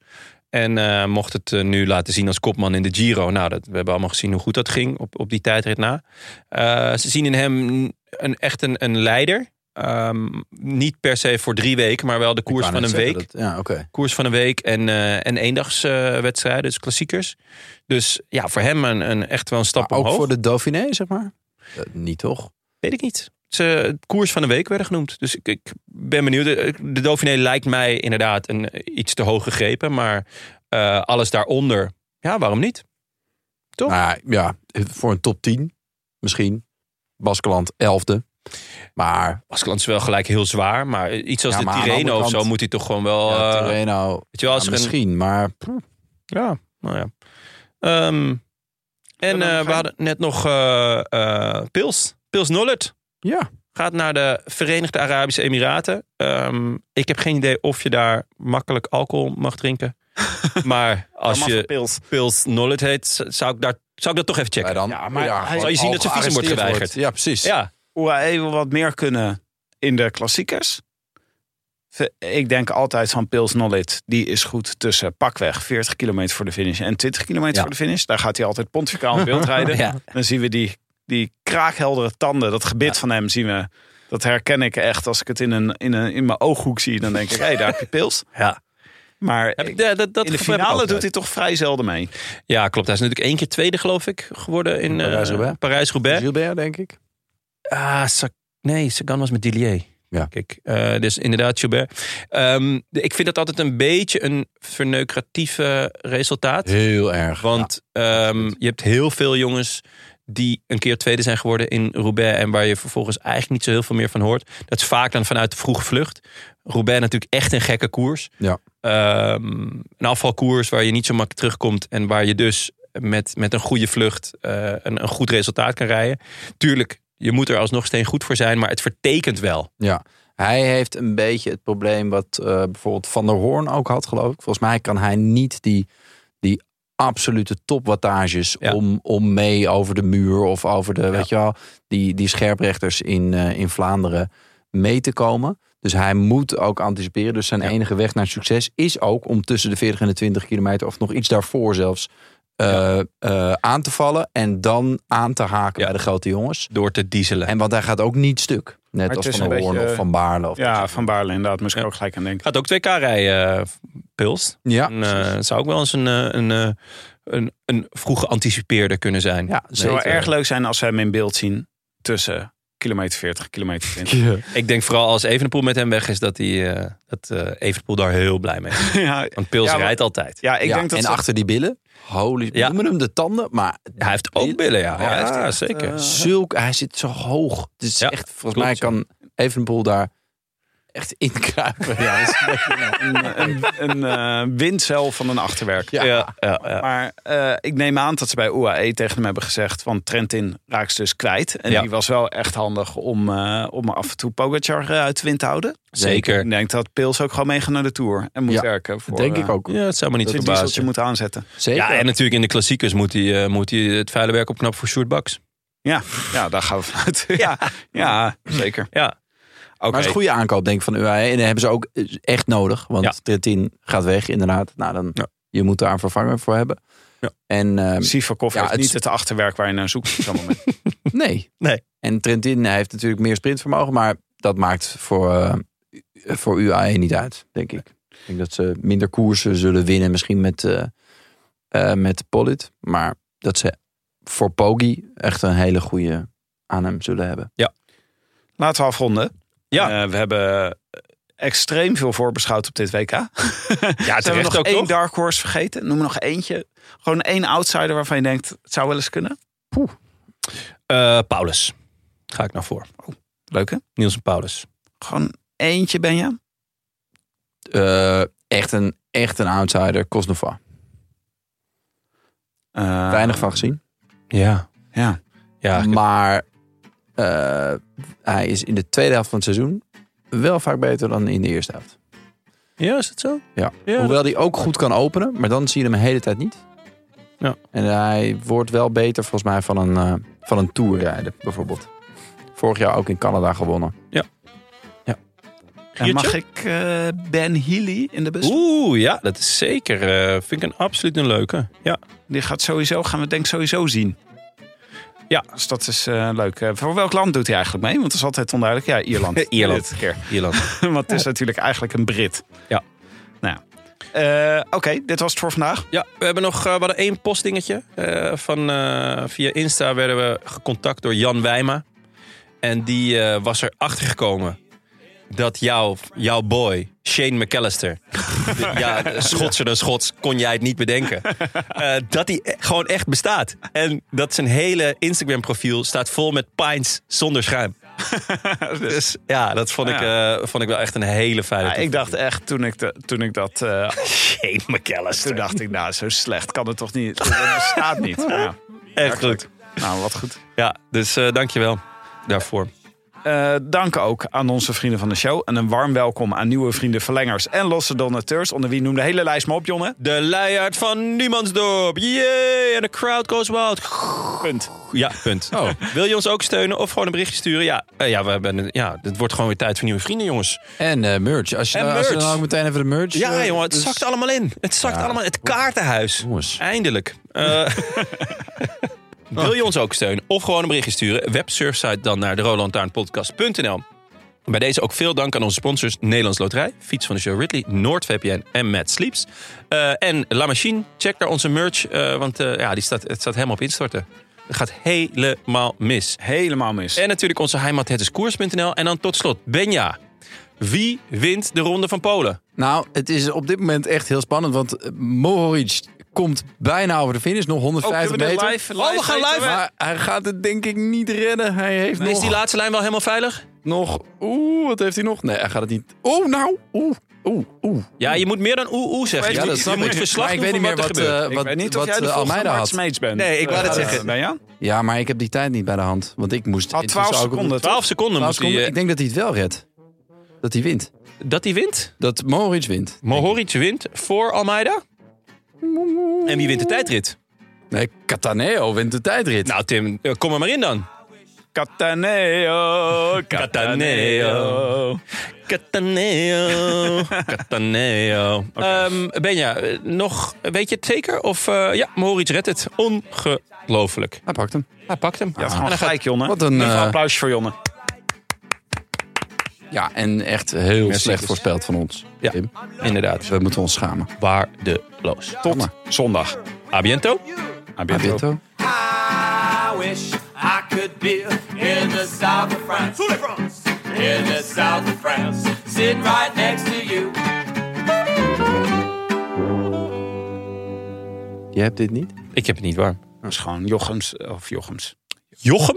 B: En eh, mocht het eh, nu laten zien als kopman in de Giro. Nou, dat, we hebben allemaal gezien hoe goed dat ging op, op die tijdrit na. Eh, ze zien in hem een, echt een, een leider. Ehm, niet per se voor drie weken, maar wel de koers
A: Ik wou
B: van
A: net
B: een
A: zeggen
B: week
A: dat- ja, oké.
B: koers van een week en, eh en eendagswedstrijden, dus klassiekers. Dus ja, voor hem een, een, echt wel een stap
A: Maar ook
B: omhoog.
A: voor de Dauphiné, zeg maar? Eh, niet toch?
B: Weet ik niet. Ze, het koers van de week werden genoemd. Dus ik, ik ben benieuwd. De, de Dauphiné lijkt mij inderdaad een, eh, iets te hoog gegrepen. Maar eh, alles daaronder, ja, waarom niet? Toch?
A: Nou ja, voor een top 10 misschien. Baskeland 11e. Maar
B: Baskeland is wel gelijk heel zwaar. Maar eh, iets als
A: Ja, maar
B: de
A: aan de
B: Tirreno
A: andere
B: of zo
A: kant-
B: moet hij toch gewoon wel...
A: ja,
B: eh,
A: Tirreno,
B: weet je wel, als
A: ja,
B: er een-
A: misschien. Maar
B: Ja, nou ja. Ehm, en
C: dan
B: eh,
C: ga
B: we
C: je-
B: hadden net nog eh, eh, Pils. Pils Nollert.
A: Ja.
B: Gaat naar de Verenigde Arabische Emiraten. Ehm, ik heb geen idee of je daar makkelijk alcohol mag drinken. maar als
C: Maar mag
B: je
C: Pils.
B: Pils Nollert heet, z- zou ik daar Zou ik dat toch even
A: Maar
B: checken?
A: dan,
C: Ja, maar hij-
A: gewoon
B: Zal je zien
A: al
B: dat zijn visum wordt
A: gearresteerd
B: geweigerd?
A: Ja, precies.
B: Ja,
C: UAE wil wat meer kunnen in de klassiekers. Ve- Ik denk altijd van Pils Nollit, die is goed tussen pakweg 40 kilometer voor de finish en 20 kilometer
A: Ja.
C: voor de finish. Daar gaat hij altijd pontificaal in beeld rijden.
A: Ja.
C: Dan zien we die, die kraakheldere tanden, dat gebit van hem zien we. Dat herken ik echt als ik het in, een, in, een, in mijn ooghoek zie. Dan denk ik, hé, daar heb je Pils.
B: Ja.
C: Maar
B: Heb
C: ik-
B: ik, ja, dat, dat
C: in de
B: gevoel heb ik
C: finale
B: ook
C: doet
B: nooit.
C: hij toch vrij zelden mee.
B: Ja, klopt. Hij is natuurlijk één keer tweede, geloof ik, geworden in eh,
A: Parijs-Roubaix.
B: Parijs-Roubaix.
A: Gilbert, denk ik.
B: Ah, Sa- nee, Sagan was met Dillier.
A: Ja.
B: Kijk, eh, dus inderdaad Gilbert. Ehm, de- ik vind dat altijd een beetje een verneukeratieve resultaat.
A: Heel erg.
B: Want ehm, je hebt heel veel jongens die een keer tweede zijn geworden in Roubaix. En waar je vervolgens eigenlijk niet zo heel veel meer van hoort. Dat is vaak dan vanuit de vroege vlucht. Roubaix natuurlijk echt een gekke koers.
A: Ja.
B: Ehm, een afvalkoers waar je niet zo makkelijk terugkomt. En waar je dus met, met een goede vlucht eh, een, een goed resultaat kan rijden. Tuurlijk, je moet er alsnog steen goed voor zijn. Maar het vertekent wel.
A: Hij heeft een beetje het probleem wat eh, bijvoorbeeld Van der Hoorn ook had, geloof ik. Volgens mij kan hij niet die, die absolute topwattages
B: Ja.
A: om, om mee over de muur of over de, weet je wel, die, die scherprechters in, eh, in Vlaanderen mee te komen. Dus hij moet ook anticiperen. Dus zijn
B: Ja.
A: enige weg naar succes is ook om tussen de 40 en de 20 kilometer of nog iets daarvoor zelfs eh, eh, aan te vallen. En dan aan te haken
B: Ja.
A: bij de grote jongens.
B: Door te dieselen.
A: En want hij gaat ook niet stuk. Net
C: het
A: als
C: is
A: Van
C: een
A: der Hoorn
C: beetje,
A: of Van Baarle. Of
C: Ja, Van Baarle inderdaad. Moest ik
B: Ja.
C: ook gelijk aan denken.
B: Gaat ook 2K rijden, eh, Pils.
A: Ja,
B: En, eh, het zou ook wel eens een, eh, een, eh, een, een vroege anticipeerder kunnen zijn.
A: ja
C: Het zou wel
A: zeker.
C: erg leuk zijn als we hem in beeld zien tussen kilometer 40 en kilometer 20.
B: Ik denk vooral als Evenepoel met hem weg is, dat, die, eh, dat eh, Evenepoel daar heel blij mee is.
C: ja,
B: Want Pils
C: Ja, maar-
B: rijdt altijd.
C: ja, ik
A: Ja,
C: denk dat
A: en
C: ze-
A: achter die billen. Holy,
B: Ja.
A: noemen hem de tanden, maar Ah.
B: Hij heeft ook billen, ja.
A: Ja,
B: ja,
A: hij
C: eh,
B: ja zeker.
A: zulk, hij zit zo hoog. Het is
B: Ja,
A: echt, volgens
B: klopt,
A: mij
B: ja.
A: kan Evenepoel daar echt in kruipen. Ja, dat is een beetje-
C: een, een, een eh, windcel van een achterwerk.
A: ja.
B: Ja, ja, ja.
C: Maar eh, ik neem aan dat ze bij UAE tegen hem hebben gezegd... van Trentin raakt ze dus kwijt. En
B: Ja.
C: die was wel echt handig om, eh, om af en toe Pogacar eh, uit de wind te houden.
B: Zeker.
C: Ik denk dat Pils ook gewoon mee gaat naar de Tour. En moet
A: Ja,
C: werken voor...
A: denk
C: eh,
A: ik ook.
B: Ja, het zou me niet
C: Dat
B: verbazen.
C: dieseltje moet aanzetten.
A: Zeker.
B: Ja, en natuurlijk in de klassiekers moet hij, eh, moet hij het vuile werk opknappen voor Sjoerd Baks.
C: Ja, ja daar gaan we vanuit. Ja, ja zeker.
B: Ja.
C: Oké.
A: Maar het is een goede aankoop, denk ik, van UAE. En dat hebben ze ook eh, echt nodig. Want
B: Ja.
A: Trentin gaat weg, inderdaad. Nou, dan,
B: Ja.
A: je moet daar een vervanger voor hebben.
B: Ja.
A: En ehm,
C: Sivakov
A: Ja,
C: heeft
A: het-
C: niet het achterwerk waar je naar zoekt op zo'n moment.
A: Nee.
B: Nee.
A: En Trentin heeft natuurlijk meer sprintvermogen, maar dat maakt voor, eh, voor UAE niet uit, denk ik. Ik denk dat ze minder koersen zullen winnen, misschien met, eh eh, met Polit. Maar dat ze voor Pogi echt een hele goede aan hem zullen hebben.
C: Laten we afronden.
B: Ja.
C: Eh, we hebben extreem veel voorbeschouwd op dit WK. Ja, Zijn we
B: terecht
C: nog
B: ook,
C: één
B: toch?
C: dark horse vergeten? Noem er nog eentje. Gewoon één outsider waarvan je denkt, het zou wel eens kunnen.
B: Eh, Paulus. Ga ik nou voor.
C: Leuk hè?
B: Nielsen Paulus.
C: Gewoon eentje ben je.
A: Eh, echt, een, echt een outsider, Kosnova.
C: Eh,
A: Weinig van gezien.
B: Ah. Ja.
C: Ja.
B: Ja, ik-
A: Maar eh, hij is in de tweede helft van het seizoen wel vaak beter dan in de eerste helft.
B: ja, is het zo?
A: Ja.
B: ja
A: Hoewel die ook goed kan openen, maar dan zie je hem de hele tijd niet.
B: Ja.
A: En hij wordt wel beter volgens mij van een, eh, van een tourrijder bijvoorbeeld. Vorig jaar ook in Canada gewonnen.
C: En mag ik eh, Ben Healy in de bus?
B: Oeh, ja, dat is zeker. eh, vind ik een absoluut een leuke. Ja,
C: Die gaat sowieso, gaan we het denk ik sowieso zien.
B: Ja.
C: Dus dat is eh, leuk. Eh, voor welk land doet hij eigenlijk mee? Want dat is altijd onduidelijk. Ja, Ierland.
B: Ierland.
C: Dit keer.
B: Ierland.
C: Want het is natuurlijk eigenlijk een Brit.
B: Ja.
C: Nou ja. Eh, Oké, dit was het voor vandaag.
B: Ja, we hebben nog eh, we hadden één postdingetje. eh, van, eh, via Insta werden we gecontact door Jan Wijma. En die eh, was erachter gekomen dat jouw, jouw boy, Shane McAllister... de- ja, Schotser dan Schots, kon jij het niet bedenken. eh, dat hij e- gewoon echt bestaat. En dat zijn hele Instagram-profiel staat vol met pints zonder schuim. Dus ja, dat vond ik, eh, vond ik wel echt een hele fijne
C: Dus, Ja, ik dacht echt, toen ik, de, toen ik dat... eh,
B: Shane McAllister.
C: toen dacht ik, nou, zo slecht kan het toch niet? Dat bestaat niet. Nou,
B: Echt goed.
C: nou wat goed.
B: Ja, dus eh dankjewel daarvoor.
C: Eh, dank ook aan onze vrienden van de show. En een warm welkom aan nieuwe vrienden, verlengers en losse donateurs. Onder wie noem de hele lijst maar op, Jonne.
B: De luiaard van Niemandsdorp. Yay! En de crowd goes wild. Punt. Ja, punt. Wil je ons ook steunen of gewoon een berichtje sturen? Ja, eh, ja, we hebben, een- ja het wordt gewoon weer tijd voor nieuwe vrienden, jongens.
A: En eh, merch. Als je,
B: En
A: nou- als je
B: merch.
A: dan ook meteen even de merch...
B: Ja,
A: eh,
B: jongen, het
A: dus-
B: zakt allemaal in. Het zakt allemaal in. Het kaartenhuis.
A: Jongens.
B: Eindelijk. Eh, wil je ons ook steunen of gewoon een berichtje sturen? Websurfsite dan naar de rolantaarnpodcast.nl. Bij deze ook veel dank aan onze sponsors Nederlands Loterij, Fiets van de Show Ridley, NoordVPN en Mad Sleeps. Eh, en La Machine, check daar onze merch, eh, want eh, ja, die staat, het staat helemaal op instorten. Het gaat helemaal mis.
C: Helemaal mis.
B: En natuurlijk onze heimathetiskoers.nl. En dan tot slot, Benja. Wie wint de Ronde van Polen?
A: Nou, het is op dit moment echt heel spannend. Want eh, Mohoric komt bijna over de finish.
B: Oh,
A: Nog 150
C: kunnen we dit
A: meter.
C: live-
B: live Oh, we gaan live.
A: Maar hij gaat het denk ik niet redden. Hij heeft nog...
B: Is die laatste lijn wel helemaal veilig?
A: nog Oeh, wat heeft hij nog? Nee, hij gaat het niet... Oeh, nou. Oeh, oeh, oeh.
B: Ja, je moet meer dan oeh oeh zeggen.
C: Ja,
B: Je
C: dat
B: moet-
C: snap
B: je
C: ik.
B: moet verslag
A: Maar ik
B: doen
A: weet niet
B: van
A: meer
B: wat er
A: wat,
B: gebeurt.
A: eh,
C: ik
A: wat,
C: weet niet
A: wat
C: of jij de
A: eh,
C: volgende
A: Almeida
C: Mart
A: had.
C: Smeets bent.
D: Nee, ik wou
C: Eh,
D: dat zeggen.
C: Ben je?
A: Ja, maar ik heb die tijd niet bij de hand. Want ik moest...
C: Had
A: het
C: 12
A: was ook-
C: seconden.
B: 12 seconden moet
A: 12
B: hij...
A: seconden.
B: eh,
A: Ik denk dat hij het wel redt. Dat hij wint.
B: dat hij wint.
A: Dat Mohoric wint.
B: Mohoric wint voor Almeida. En wie wint de tijdrit?
A: Nee, Cataneo wint de tijdrit.
B: Nou Tim, eh, kom er maar in dan.
C: Cataneo,
B: Cataneo. Cataneo. Cataneo. Ehm, Benja, eh, nog, weet je het zeker? Of eh, ja, Mohoric redt het. Ongelooflijk.
A: Hij pakt hem.
B: Hij pakt hem.
C: Ja, het is gewoon
B: En hij gaat-
C: gelijk, Jonne.
A: Wat een,
C: Even
A: eh,
C: applausje voor Jonne.
A: Ja, en echt heel slecht
B: dus.
A: voorspeld van ons.
B: Ja.
A: Tim.
B: Inderdaad,
A: We moeten ons schamen.
B: waardeloos.
C: Tot zondag.
B: A biento.
C: A bientôt.
A: Abito.
E: I wish I could be in the south of France. In the south of France. Sitting right next to you.
A: Jij hebt dit niet?
B: Ik heb het niet warm.
C: Dat is gewoon Jochems eh, of Jochems.
B: Jochem?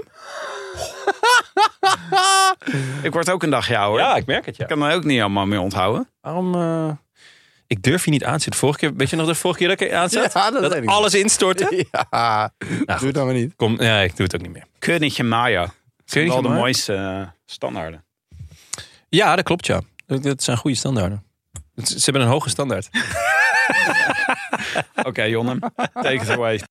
C: Ik word ook een dagje ouder.
B: Ja,
C: ik
B: ik merk het, ja.
C: kan me ook niet allemaal meer onthouden.
B: Waarom... eh, Ik durf je niet aan te zitten. Vorige keer, weet je nog de vorige keer dat ik aan zat?
A: Ja, dat weet ik nog.
B: alles instortte?
A: Ja, doe het dan maar niet.
B: Kom, nee, ik doe het ook niet meer.
C: Könnetje Maya.
B: Kun
C: Wel de mooiste eh, standaarden.
B: Ja, dat klopt, ja. Dat, dat zijn goede standaarden. Het- Ze hebben een hoge standaard.
C: Oké, Jonne. Take it away.